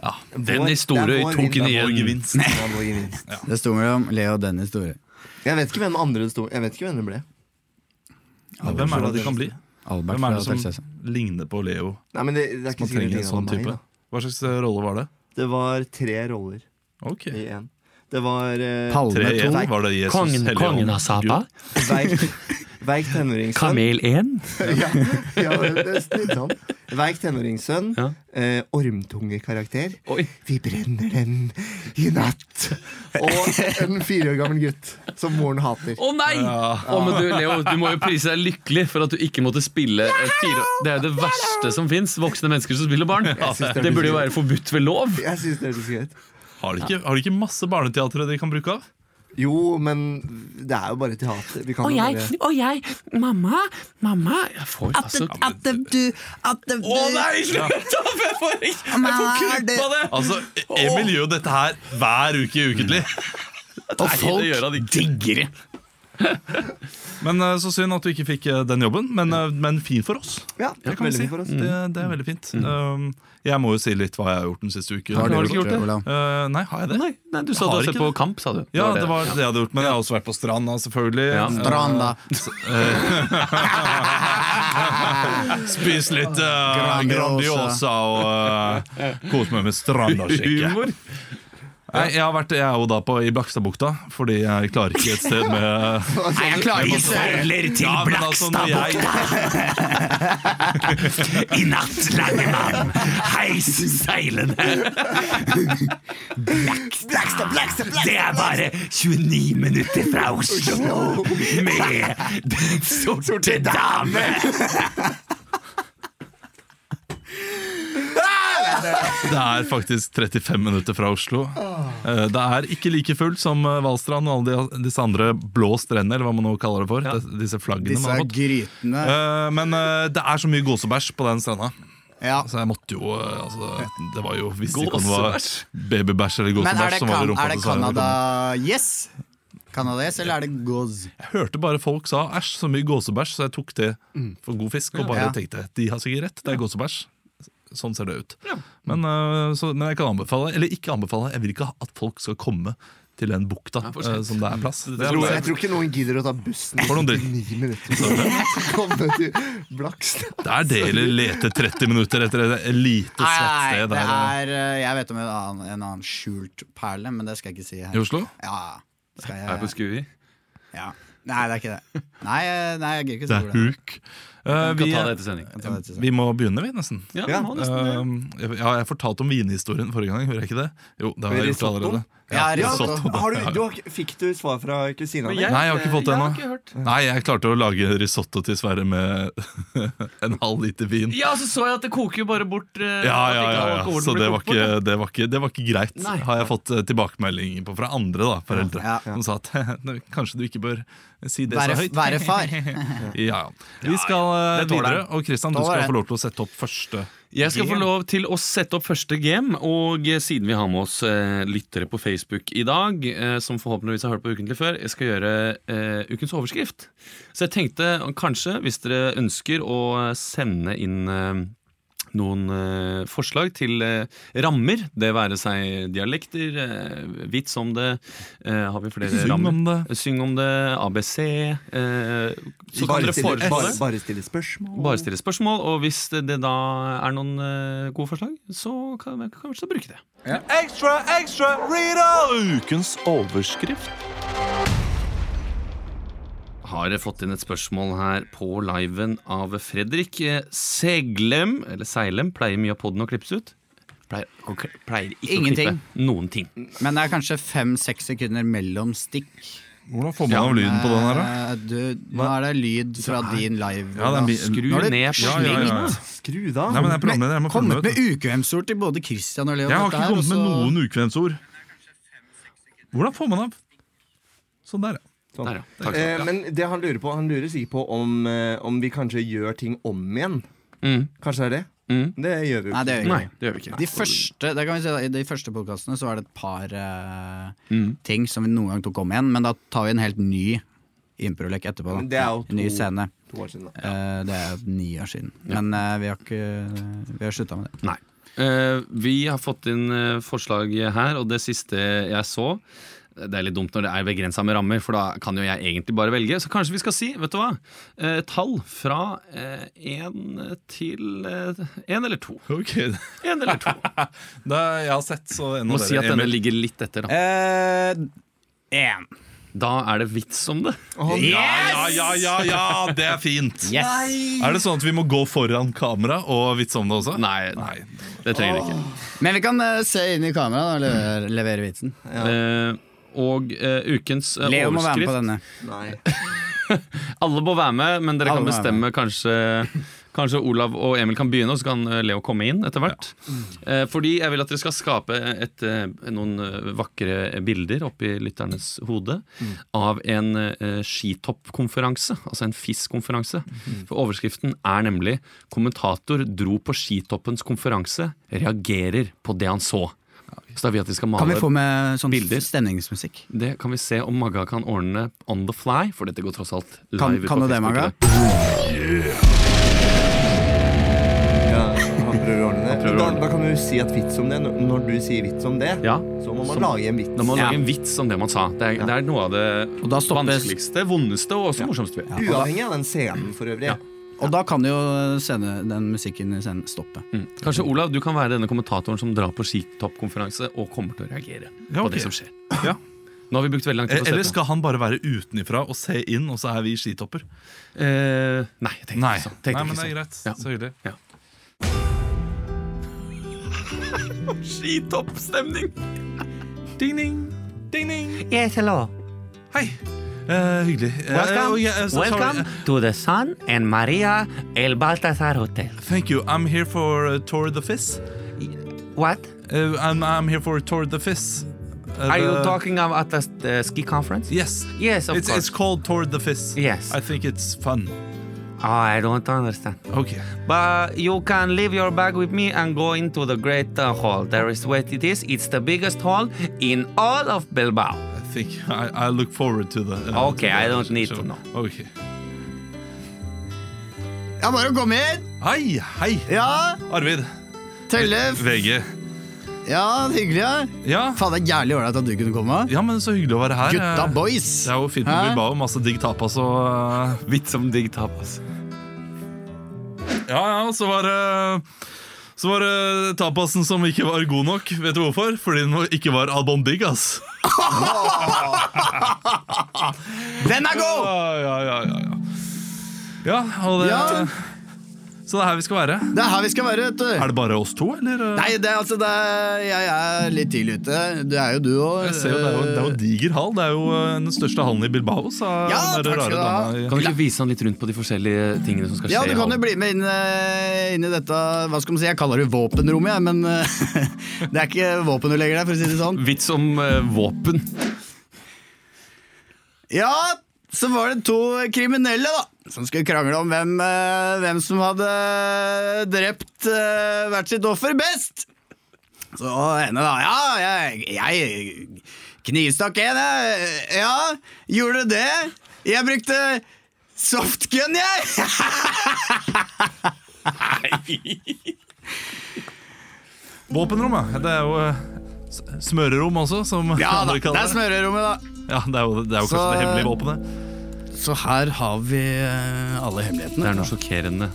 Speaker 1: Ja. Mm.
Speaker 5: Den
Speaker 3: Vår-
Speaker 5: historie
Speaker 3: det er vår
Speaker 5: tok
Speaker 3: vinner.
Speaker 5: den igjen.
Speaker 1: Og gevinst.
Speaker 3: Det er vår gevinst.
Speaker 4: Det sto mellom Leo og Dennis Store.
Speaker 3: Jeg vet ikke hvem andre det sto Jeg vet ikke hvem det ble.
Speaker 1: Ja, hvem er det det kan bli?
Speaker 4: Albert
Speaker 1: Hvem
Speaker 4: fra
Speaker 1: er det
Speaker 4: Hotel
Speaker 1: som
Speaker 4: Cæsar.
Speaker 1: ligner på Leo?
Speaker 3: Nei, men det, det er ikke
Speaker 1: Man
Speaker 3: sikkert
Speaker 1: trenger
Speaker 3: det
Speaker 1: en
Speaker 3: var
Speaker 1: sånn
Speaker 3: meg,
Speaker 1: type.
Speaker 3: da.
Speaker 1: Hva slags eh, rolle var det?
Speaker 3: Det var tre roller
Speaker 1: Ok.
Speaker 3: i én. Det var eh,
Speaker 1: Tre
Speaker 4: Palme
Speaker 1: i en,
Speaker 4: to.
Speaker 1: var det Jesus,
Speaker 2: Kongen,
Speaker 1: Helligånd,
Speaker 2: kongen av
Speaker 1: Gud?
Speaker 2: Sapa?
Speaker 3: Veik, veik tenåringssønn.
Speaker 2: Kamel 1?
Speaker 3: ja, ja, det er litt sånn. Veik tenåringssønn.
Speaker 2: Ja.
Speaker 3: Eh, Ormtungekarakter.
Speaker 2: Oi.
Speaker 3: Vi brenner den i natt. Og en fire år gammel gutt som moren hater.
Speaker 2: Å nei! Å, men du, Leo, du må jo prise deg lykkelig for at du ikke måtte spille et fire... Det er jo det verste som fins. Voksne mennesker som spiller barn.
Speaker 3: synes det er
Speaker 2: Det burde jo
Speaker 3: litt-
Speaker 2: være forbudt ved lov.
Speaker 3: Jeg synes det er så skøyt.
Speaker 1: Har de ikke, har de ikke masse barneteatre de kan bruke av?
Speaker 3: Jo, men det er jo bare teater. Vi kan
Speaker 2: Og
Speaker 3: jo
Speaker 2: jeg,
Speaker 3: bare...
Speaker 2: og jeg Mamma, mamma Jeg får altså
Speaker 4: du At du
Speaker 2: Å nei, slutt! da, for Jeg får, ikke- jeg får krupp av det!
Speaker 1: Altså, Emil gjør jo dette her hver uke i Ukentlig.
Speaker 2: Og
Speaker 1: det gjør han
Speaker 2: folk digger det.
Speaker 1: Men eh, Så synd at du ikke fikk eh, den jobben, men, eh, men fin for oss.
Speaker 3: Ja, det
Speaker 1: Det kan vi si.
Speaker 3: veldig fint for oss.
Speaker 1: Det, det er veldig fint. Um, jeg må jo si litt hva jeg har gjort den siste uken.
Speaker 4: Har du
Speaker 2: Har du ikke
Speaker 4: gjort
Speaker 2: gjort
Speaker 4: det,
Speaker 2: det?
Speaker 4: Olav?
Speaker 1: Eh, nei, har jeg det?
Speaker 2: Nei, nei, du
Speaker 1: Har
Speaker 2: sa du hadde
Speaker 1: ikke
Speaker 2: sett på
Speaker 1: det.
Speaker 2: kamp, sa du.
Speaker 1: Ja, det var det jeg hadde gjort, men jeg har også vært på stranda, selvfølgelig. Eh,
Speaker 2: Ja.
Speaker 4: Stranda.
Speaker 1: Spist litt uh,
Speaker 4: Grandiosa.
Speaker 1: Grandiosa og uh, kost meg med strandasjekket.
Speaker 2: humor.
Speaker 1: Nei, jeg, har vært, jeg er jo da på, i Blakstadbukta, fordi jeg klarer ikke et sted med
Speaker 4: Nei, jeg klarer ikke
Speaker 2: altså-
Speaker 4: søler til
Speaker 1: Ja, men altså, når jeg-
Speaker 4: i natt, lange mann. Heis seilene. Blackstad,
Speaker 2: Mm.
Speaker 4: Blackstad, Det er bare 29 minutter fra Oslo med den sorte dame.
Speaker 1: Det er faktisk 35 minutter fra Oslo. Eh, Det er ikke like fullt som eh, Valstrand og alle de, disse andre blå strendene, eller hva man nå kaller det for. Des- Disse flaggene man har fått.
Speaker 4: grytene.
Speaker 1: Eh, Men eh, det er så mye gåsebæsj på den stranda.
Speaker 4: Ja.
Speaker 1: Så jeg måtte jo eh, altså, Det var jo visst ikke om det var
Speaker 2: Gåsebæsj.
Speaker 1: babybæsj eller
Speaker 4: Men er
Speaker 1: gåsebæsj
Speaker 4: det,
Speaker 1: som var i
Speaker 4: kan,
Speaker 1: rumpa
Speaker 4: er det
Speaker 1: til Sara
Speaker 4: Canada
Speaker 1: Nicole.
Speaker 4: Yes? Canada Yes, eller er det Goz?
Speaker 1: Jeg hørte bare folk sa 'æsj, så mye gåsebæsj', så jeg tok det for god fisk og bare
Speaker 4: Ja.
Speaker 1: tenkte 'de har sikkert rett, det er gåsebæsj'. Sånn ser det ut. Men, eh, så, men jeg kan anbefale, eller ikke anbefale, jeg vil ikke at folk skal komme til den bukta
Speaker 2: for
Speaker 1: eh, som det er plass. Det er,
Speaker 3: Tror, jeg tror ikke noen gidder å ta bussen
Speaker 1: For noen dritt.
Speaker 3: ni minutter for å komme til Blakstad.
Speaker 1: det er deilig å lete 30 minutter etter et lite
Speaker 4: Nei,
Speaker 1: svett sted
Speaker 4: det
Speaker 1: der eh,
Speaker 4: er eh, Jeg vet om en annen, en annen skjult perle, men det skal jeg ikke si her.
Speaker 1: i Oslo.
Speaker 4: Ja, skal
Speaker 2: Er på
Speaker 4: jeg,
Speaker 2: Skui.
Speaker 4: ja. Nei, det er ikke det. Nei, eh, nei jeg gidder ikke si
Speaker 1: Det er
Speaker 4: hvor det er.
Speaker 1: huk. Eh,
Speaker 2: Kan
Speaker 1: vi,
Speaker 2: ta det etter sending.
Speaker 4: Jeg tar det til seg.
Speaker 1: vi må begynne, vi, nesten.
Speaker 2: Ja,
Speaker 3: Ja.
Speaker 2: må nesten det.
Speaker 1: Um, jeg, ja, jeg fortalte om vinhistorien forrige gang, gjorde jeg ikke det? Jo, det har
Speaker 3: Med
Speaker 1: jeg gjort
Speaker 3: risottoen?
Speaker 1: allerede.
Speaker 4: Ja,
Speaker 1: Ja,
Speaker 4: risotto.
Speaker 1: risotto, det
Speaker 3: Har du,
Speaker 1: har jeg.
Speaker 3: du, har- fikk du svar fra kusina
Speaker 2: Men
Speaker 3: di?
Speaker 1: Nei, jeg har ikke fått det
Speaker 2: jeg
Speaker 1: ennå.
Speaker 2: har ikke hørt.
Speaker 1: Nei, jeg klarte å lage risotto til Sverre med en halv liter vin.
Speaker 2: Ja,
Speaker 6: altså,
Speaker 2: så så jeg at det koker jo bare bort. eh,
Speaker 1: Ja,
Speaker 2: at
Speaker 1: ja, ja,
Speaker 2: ikke
Speaker 1: ja.
Speaker 2: alkoholen
Speaker 1: Så
Speaker 2: blir
Speaker 1: det var,
Speaker 2: kokt bort, ja.
Speaker 1: ikke, det, var ikke, det var ikke greit,
Speaker 2: Nei.
Speaker 1: har jeg fått eh, tilbakemelding på fra andre da, foreldre.
Speaker 4: Ja, ja.
Speaker 1: Som sa at «Nei, kanskje du ikke bør si det
Speaker 4: Være,
Speaker 1: så høyt.
Speaker 4: være far.
Speaker 1: Ja, ja. Vi skal eh,
Speaker 2: det tåler
Speaker 1: videre,
Speaker 2: jeg.
Speaker 1: og Christian, du
Speaker 4: Tåler
Speaker 1: skal
Speaker 4: jeg.
Speaker 1: få lov til å sette opp første.
Speaker 2: Jeg skal få
Speaker 1: game.
Speaker 2: lov til å sette opp første game, og eh, siden vi har med oss eh, lyttere på Facebook i dag, eh, som forhåpentligvis har hørt på Ukentlig før, jeg skal gjøre eh, ukens overskrift. Så jeg tenkte eh, kanskje, hvis dere ønsker å eh, sende inn eh, noen eh, forslag til eh, rammer, det være seg dialekter, eh, vits om det, eh, har vi flere
Speaker 1: Syng
Speaker 2: rammer?
Speaker 1: om det.
Speaker 2: Syng om det, ABC eh, Så kan
Speaker 3: Bare
Speaker 2: dere
Speaker 3: stille,
Speaker 2: foreslå
Speaker 3: bare,
Speaker 2: det.
Speaker 3: bare stille spørsmål.
Speaker 2: Bare stille spørsmål, og hvis det det da er noen eh, gode forslag, så kan vi kanskje bruke det.
Speaker 1: Ekstra, ekstra, Rita! Ukens overskrift.
Speaker 2: har fått inn et spørsmål her på liven av Fredrik. Eh, Seglem, eller Seilem, pleier mye av podden å klippes ut? Pleier, pleier ikke
Speaker 4: Ingenting.
Speaker 2: å klippe noen ting.
Speaker 4: Men det er kanskje fem-seks sekunder mellom stikk.
Speaker 1: Hvordan får man av lyden på den her, da?
Speaker 4: Eh, Du, nå er det lyd fra din live.
Speaker 1: Ja, det er bi-
Speaker 4: Skru
Speaker 2: Nå er det
Speaker 4: ned
Speaker 1: Ja, ja, ja.
Speaker 4: slengt.
Speaker 3: Skru da!
Speaker 1: Nei, men jeg er programleder, jeg må følge
Speaker 4: Kommet
Speaker 1: med.
Speaker 4: med ukvemsord til både Christian og Leo.
Speaker 1: Jeg har
Speaker 4: Dette
Speaker 1: ikke
Speaker 4: her,
Speaker 1: kommet med
Speaker 4: og så-
Speaker 1: noen ukvemsord. Hvordan får man av? Sånn der, ja.
Speaker 3: Sånn.
Speaker 2: Der, ja. Takk skal du ha.
Speaker 3: Eh, men det han lurer på, han lurer sikkert på om, eh, om vi kanskje gjør ting om igjen.
Speaker 2: Mm.
Speaker 3: Kanskje det er det?
Speaker 2: Mm.
Speaker 3: Det gjør vi jo
Speaker 4: Nei, det gjør vi
Speaker 2: Nei,
Speaker 4: ikke.
Speaker 2: det gjør vi ikke.
Speaker 4: De første, det kan vi si, da, I de første podkastene var det et par eh,
Speaker 3: Mm.
Speaker 4: ting som vi noen gang tok om igjen, men da tar vi en helt ny improlek etterpå. Da.
Speaker 3: Men det er jo
Speaker 4: En ny
Speaker 3: to-
Speaker 4: scene.
Speaker 3: to år siden. Da.
Speaker 4: Eh, det er jo ni år siden. Men eh, vi har ikke Vi har slutta med det.
Speaker 2: Nei. Eh, vi har fått inn eh, forslag her, og det siste jeg så Det er litt dumt når det er begrensa med rammer, for da kan jo jeg egentlig bare velge. Så kanskje vi skal si, vet du hva, eh, tall fra én til én eller to.
Speaker 1: Ok,
Speaker 2: En eller to.
Speaker 1: da, Jeg har sett så en
Speaker 2: Må
Speaker 1: av
Speaker 2: si at
Speaker 1: dere
Speaker 2: denne
Speaker 1: Emil.
Speaker 2: ligger litt etter. Da,
Speaker 3: Eh,
Speaker 4: Én.
Speaker 2: da er det vits om det.
Speaker 1: Ja, ja, ja, ja, det er fint!
Speaker 4: Yes!
Speaker 1: Er det sånn at vi må gå foran kamera og vitse om det også?
Speaker 2: Nei, nei. det trenger det ikke.
Speaker 4: Men vi kan eh, se inn i kameraet og
Speaker 3: Mm.
Speaker 4: levere, levere vitsen.
Speaker 2: Eh, og eh, ukens eh,
Speaker 4: Leo må være med på
Speaker 2: overskrift
Speaker 4: denne.
Speaker 3: Nei.
Speaker 2: Alle må være med, men dere
Speaker 4: Alle
Speaker 2: kan
Speaker 4: må være
Speaker 2: bestemme kanskje Kanskje Olav og Emil kan begynne, og så kan eh, Leo komme inn etter hvert.
Speaker 4: Mm.
Speaker 2: Eh, Fordi jeg vil at dere skal skape et, eh, noen eh, vakre bilder oppi lytternes hode
Speaker 4: Mm.
Speaker 2: av en eh, skitoppkonferanse, altså en FIS-konferanse.
Speaker 4: Mm-hmm.
Speaker 2: For overskriften er nemlig 'Kommentator dro på skitoppens konferanse, reagerer på det han så'. Så da vil jeg at de skal male
Speaker 4: Kan vi få med sånn
Speaker 2: Bilder.
Speaker 4: stemningsmusikk?
Speaker 2: det kan vi se om Magga kan ordne on the fly, for dette går tross alt live.
Speaker 4: Kan,
Speaker 2: ut på
Speaker 4: kan du det,
Speaker 2: Facebook i
Speaker 4: Maga?
Speaker 2: dag.
Speaker 3: Ja, han prøver å ordne det.
Speaker 2: prøver å
Speaker 3: Da,
Speaker 2: ordne det.
Speaker 3: da kan du si et vits om det. Når- Når du sier vits om det,
Speaker 2: Ja.
Speaker 3: så må man
Speaker 2: Som-
Speaker 3: lage en vits.
Speaker 2: Da må man
Speaker 4: Ja.
Speaker 2: lage en vits om det man sa. Det er, det er noe av det
Speaker 4: Og da stoppes-
Speaker 2: vanskeligste, vondeste og også morsomste. vi-
Speaker 3: Uavhengig av den scenen for øvrig.
Speaker 4: Og da kan jo scene, den musikken i scenen stoppe.
Speaker 2: Mm. Kanskje Olav, du kan være denne kommentatoren som drar på skitoppkonferanse og kommer til å reagere
Speaker 1: Ja,
Speaker 2: på
Speaker 1: ok.
Speaker 2: det som skjer.
Speaker 1: Ja.
Speaker 2: Nå har vi brukt veldig lang tid på å se
Speaker 1: E- Eller
Speaker 2: på.
Speaker 1: skal han bare være utenifra og se inn, og så er vi skitopper?
Speaker 2: Eh, nei, jeg tenkte
Speaker 1: Nei,
Speaker 2: ikke sånn.
Speaker 1: Nei
Speaker 2: Tenkte
Speaker 1: men det er
Speaker 2: ikke
Speaker 1: greit.
Speaker 2: Ja.
Speaker 1: Så hyggelig.
Speaker 2: sånn. Skitoppstemning! Ding, ding, ding, ding.
Speaker 6: Yes, hello.
Speaker 1: Hei! Eh, hyggelig. Eh,
Speaker 6: Welcome.
Speaker 1: oh, yeah, eh, so sorry.
Speaker 6: Welcome to the Sun and Maria El Baltasar Hotel.
Speaker 1: Thank you. I'm here for uh, Tour the Fizz.
Speaker 6: What?
Speaker 1: Uh, I'm, I'm here for Tour the Fizz. Uh,
Speaker 6: Are you
Speaker 1: the-
Speaker 6: talking about the uh, ski conference?
Speaker 1: Yes.
Speaker 6: Yes, of
Speaker 1: It's,
Speaker 6: course.
Speaker 1: it's called Tour the Fizz.
Speaker 6: Yes.
Speaker 1: I think it's fun.
Speaker 6: Oh, I don't understand.
Speaker 1: Okay.
Speaker 6: But you can leave your bag with me and go into the Great uh, Hall. There is what it is. It's the biggest hall in all of Bilbao.
Speaker 1: I think I, I look forward to the. uh,
Speaker 6: Okay,
Speaker 1: to the
Speaker 6: I don't need to know.
Speaker 1: Okay.
Speaker 4: Ja, bare å komme inn!
Speaker 1: Hei, hei.
Speaker 4: Ja,
Speaker 1: Arvid.
Speaker 4: telle!
Speaker 1: VG.
Speaker 4: Ja, hyggelig, ja.
Speaker 1: Ja.
Speaker 4: Faen, det er jævlig ålreit at du kunne komme.
Speaker 1: ja, men så hyggelig å være her.
Speaker 4: Gutta boys!
Speaker 1: Det er jo fint med
Speaker 4: Hæ?
Speaker 1: Bilbao. Masse digg tapas og uh,
Speaker 2: Vits om digg tapas.
Speaker 1: Ja, ja, så var det Så var det tapasen som ikke var god nok. Vet du hvorfor? Fordi den ikke var albondigas.
Speaker 4: Den er god!
Speaker 1: Ja, ja, ja, ja, ja. ja og det
Speaker 4: Ja.
Speaker 1: Så det er her vi skal være.
Speaker 4: Det er her vi skal være, vet du.
Speaker 1: Er det bare oss to, eller?
Speaker 4: Nei, det er altså det er, Jeg er litt tidlig ute. Det er jo du òg.
Speaker 1: Jeg ser jo, det, er jo, det er jo diger hall. Det er jo eh, den største hallen i Bilbao, sa
Speaker 4: Ja,
Speaker 1: den der
Speaker 4: takk skal
Speaker 1: rare
Speaker 4: du ha.
Speaker 1: dama i-
Speaker 2: Kan du ikke vise han litt rundt på de forskjellige tingene som skal skje?
Speaker 4: Ja, du kan
Speaker 2: i
Speaker 4: jo
Speaker 2: hallen?
Speaker 4: bli med inn, eh, inn i dette Hva skal man si, jeg kaller det våpenrommet, jeg, men eh, det er ikke våpen du legger der, for å si det sånn.
Speaker 2: Vits om eh, våpen.
Speaker 4: Ja, så var det to kriminelle da som skulle krangle om hvem, eh, hvem som hadde drept eh, hvert sitt offer best. Så henne da, ja, jeg, jeg knivstakk en, jeg. Ja, gjorde du det? Jeg brukte softgun, jeg.
Speaker 1: Våpenrom, ja. Det er jo eh, s- smørerom også, som
Speaker 4: Ja da,
Speaker 1: andre
Speaker 4: det er
Speaker 1: kaller det.
Speaker 4: smørerommet da.
Speaker 1: Ja, det er jo, det er jo
Speaker 4: Så-
Speaker 1: kanskje det hemmelige våpenet.
Speaker 4: Så her har vi eh, alle
Speaker 2: Det er
Speaker 4: hemmelighetene.
Speaker 2: noen sjokkerende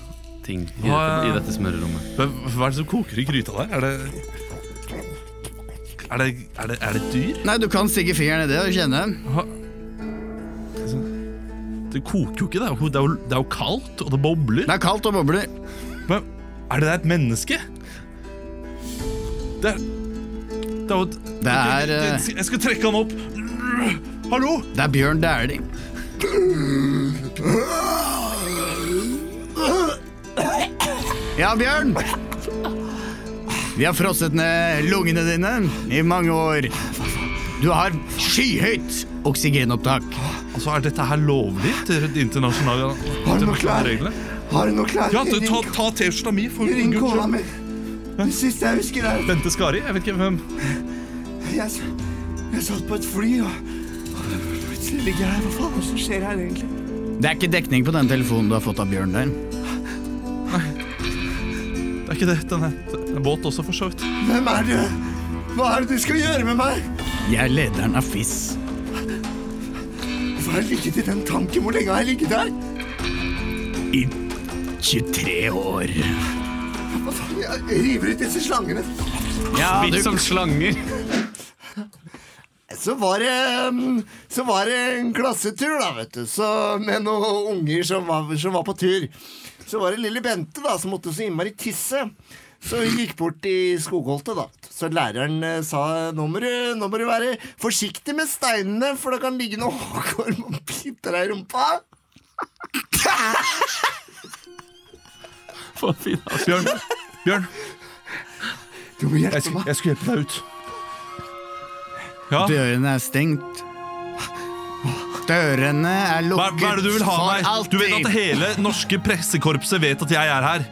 Speaker 2: ting i
Speaker 1: Ja,
Speaker 2: dette,
Speaker 1: ja.
Speaker 2: i dette smørerommet.
Speaker 1: Men Hva er det som koker i gryta der? Er det Er det, er det, er det et dyr?
Speaker 4: Nei, du kan stikke fingeren i det og kjenne.
Speaker 1: Det Det koker jo ikke, det er jo, det er jo, det er jo kaldt, og det bobler.
Speaker 4: Det er kaldt og bobler.
Speaker 1: Men er det der et menneske? Det er Det er jo et
Speaker 4: Det er,
Speaker 1: Ok,
Speaker 4: eh,
Speaker 1: det- Jeg skal trekke han opp. Hallo?
Speaker 4: Det er Bjørn Dæhlie. Ja, Bjørn. Vi har frosset ned lungene dine i mange år. Du har skyhøyt oksygenopptak.
Speaker 1: Altså, Er dette her lovlig til et internasjonale
Speaker 3: Har du noe klær?
Speaker 1: internasjonale regler?
Speaker 3: Har du noe klær?
Speaker 1: Ja, du,
Speaker 3: Ring-
Speaker 1: ta, ta T-skjorta mi. for
Speaker 3: Ring
Speaker 1: Guds
Speaker 3: kona
Speaker 1: skyld.
Speaker 3: mi. Det siste jeg husker, er
Speaker 1: Bente Skari? Jeg vet ikke hvem.
Speaker 3: Jeg, jeg satt på et fly og og plutselig ligger jeg her. Hva faen er det som skjer her, egentlig?
Speaker 4: Det er ikke dekning på den telefonen du har fått av Bjørn der.
Speaker 1: Det er ikke det. Den er, den er våt også, for så vidt.
Speaker 3: Hvem er du? Hva er det du skal gjøre med meg?
Speaker 4: Jeg er lederen av FIS.
Speaker 3: Hvorfor har jeg ligget i den tanken? Hvor lenge har jeg ligget der?
Speaker 4: I 23 år.
Speaker 3: Hva faen, jeg river ut disse slangene.
Speaker 4: Ja,
Speaker 5: Litt som slanger.
Speaker 3: Så var det mm, Så var det en klassetur, da, vet du. Så med noen unger som var, som var på tur. Så var det lille Bente da som måtte så innmari tisse. Så hun gikk bort i skogholtet, da. Så læreren eh, sa nå må, du, nå må du være forsiktig med steinene, for det kan ligge noe hårkorm og bite deg i rumpa.
Speaker 1: Bjørn, Bjørn,
Speaker 3: Du må
Speaker 1: jeg,
Speaker 3: hjelpe
Speaker 1: sk-
Speaker 3: meg.
Speaker 1: jeg skulle hjelpe deg ut. Ja,
Speaker 4: Dørene er stengt. Dørene er
Speaker 1: hva,
Speaker 4: lukket
Speaker 1: hva er det du vil ha
Speaker 4: for
Speaker 1: av meg?
Speaker 4: alltid.
Speaker 1: Du vet at hele norske pressekorpset vet at jeg er her.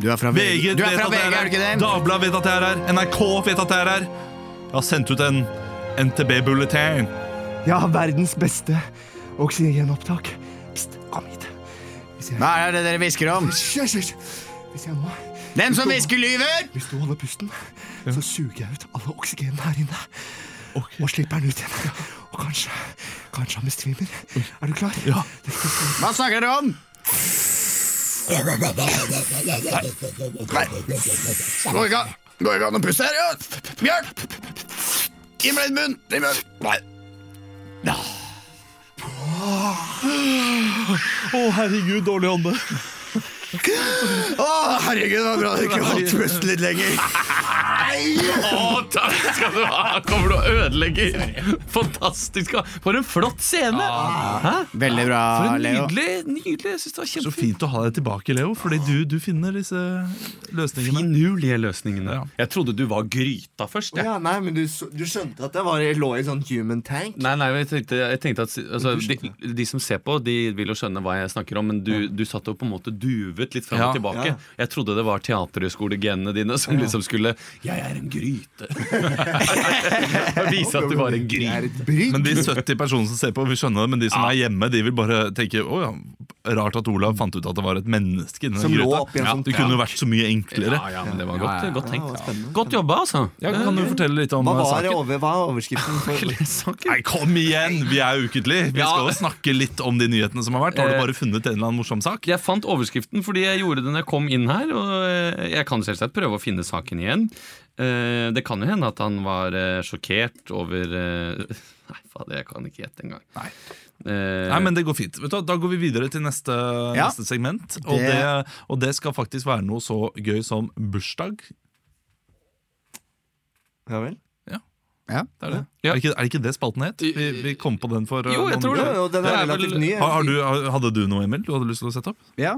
Speaker 4: Du er fra
Speaker 1: VG
Speaker 4: VG, du er
Speaker 1: vet
Speaker 4: fra
Speaker 1: at
Speaker 4: VG,
Speaker 1: jeg
Speaker 4: er du ikke
Speaker 1: er her.
Speaker 4: det?
Speaker 1: Dagbladet vet at jeg er her. NRK vet at jeg er her. Jeg har sendt ut en NTB-bulletin.
Speaker 3: Jeg har verdens beste oksygenopptak. Pst, kom hit. Hvis jeg,
Speaker 4: Hva er det dere hvisker om?
Speaker 3: Hysj, hysj, hysj. Hvis jeg nå
Speaker 4: Den som hvisker, lyver!
Speaker 3: Hvis du holder pusten, så suger jeg ut alle oksygenene her inne. Og slipper den ut igjen. Og kanskje kanskje han besvimer. Er du klar? Ja.
Speaker 4: Hva snakker dere om? Nei. Går ikke an. Går ikke an å puste her, ja. Bjørn! Gi meg litt bunn. Gi meg- Nei.
Speaker 1: Å, herregud, dårlig ånde.
Speaker 4: Å, herregud, det var bra du ikke holdt pusten litt lenger.
Speaker 2: Å, takk skal du ha! Kommer du og ødelegger? Fantastisk! For en flott scene!
Speaker 4: Ah,
Speaker 2: Hæ?
Speaker 4: Veldig bra,
Speaker 2: For en
Speaker 4: Leo.
Speaker 2: nydelig, nydelig. Jeg synes det var
Speaker 1: Så
Speaker 2: kjempefint.
Speaker 1: fint å ha deg tilbake, Leo, fordi du, du finner disse løsningene.
Speaker 2: Finurlige løsningene. Jeg trodde du var gryta først. jeg.
Speaker 3: nei, men du, så- du skjønte at jeg var, jeg lå i sånn human tank?
Speaker 2: Nei, nei, jeg tenkte, jeg tenkte at altså, de, de som ser på, de vil jo skjønne hva jeg snakker om, men du, du satt jo på en måte duvet litt fram
Speaker 1: Ja,
Speaker 2: og tilbake.
Speaker 3: ja.
Speaker 2: Jeg trodde det var teaterhøyskolegenene dine som liksom skulle Jeg er en gryte. Vise at du var en
Speaker 3: Jeg er
Speaker 2: gryte.
Speaker 3: et brygg.
Speaker 1: Men de 70 personene som ser på, vil skjønne det, men de som er hjemme, de vil bare tenke å ja, rart at Olav fant ut at det var et menneske inni
Speaker 3: Som
Speaker 1: den
Speaker 3: lå
Speaker 1: gryta.
Speaker 3: oppi en sånn
Speaker 1: det kunne jo vært så mye enklere.
Speaker 2: Ja, ja, men det var godt, godt tenkt.
Speaker 3: spennende.
Speaker 2: Godt jobba, altså.
Speaker 1: Ja, kan du fortelle litt om
Speaker 3: Hva
Speaker 1: eh,
Speaker 3: var
Speaker 1: saken?
Speaker 3: over, hva er overskriften? For?
Speaker 1: Nei, kom igjen! Vi er ukentlig. Vi
Speaker 2: Ja.
Speaker 1: skal jo snakke litt om de nyhetene som har vært. Har du
Speaker 2: Eh.
Speaker 1: bare funnet en eller annen morsom sak?
Speaker 2: Jeg fant overskriften fordi jeg gjorde det når jeg kom inn her. Og eh, jeg kan selvsagt prøve å finne saken igjen. Eh, Det kan jo hende at han var eh, sjokkert over eh, Nei, fader, jeg kan ikke gjette engang.
Speaker 1: Nei.
Speaker 2: Eh,
Speaker 1: Nei, men det går fint. Vet du, hva, da går vi videre til neste,
Speaker 4: Ja.
Speaker 1: neste segment. Og det...
Speaker 4: Det-
Speaker 1: og det skal faktisk være noe så gøy som bursdag.
Speaker 3: Ja vel?
Speaker 1: Det er, det.
Speaker 2: Ja.
Speaker 1: Er, det ikke, er det ikke det spalten het? Vi, vi kom på den for eh,
Speaker 2: Jo,
Speaker 1: noen
Speaker 2: jeg tror
Speaker 3: Jo,
Speaker 1: uker.
Speaker 3: jo, den
Speaker 2: Det
Speaker 3: er
Speaker 2: er vel-
Speaker 3: relativt ny.
Speaker 1: Har, har du, har- hadde du noe, Emil? Du hadde lyst til å sette opp?
Speaker 4: Ja.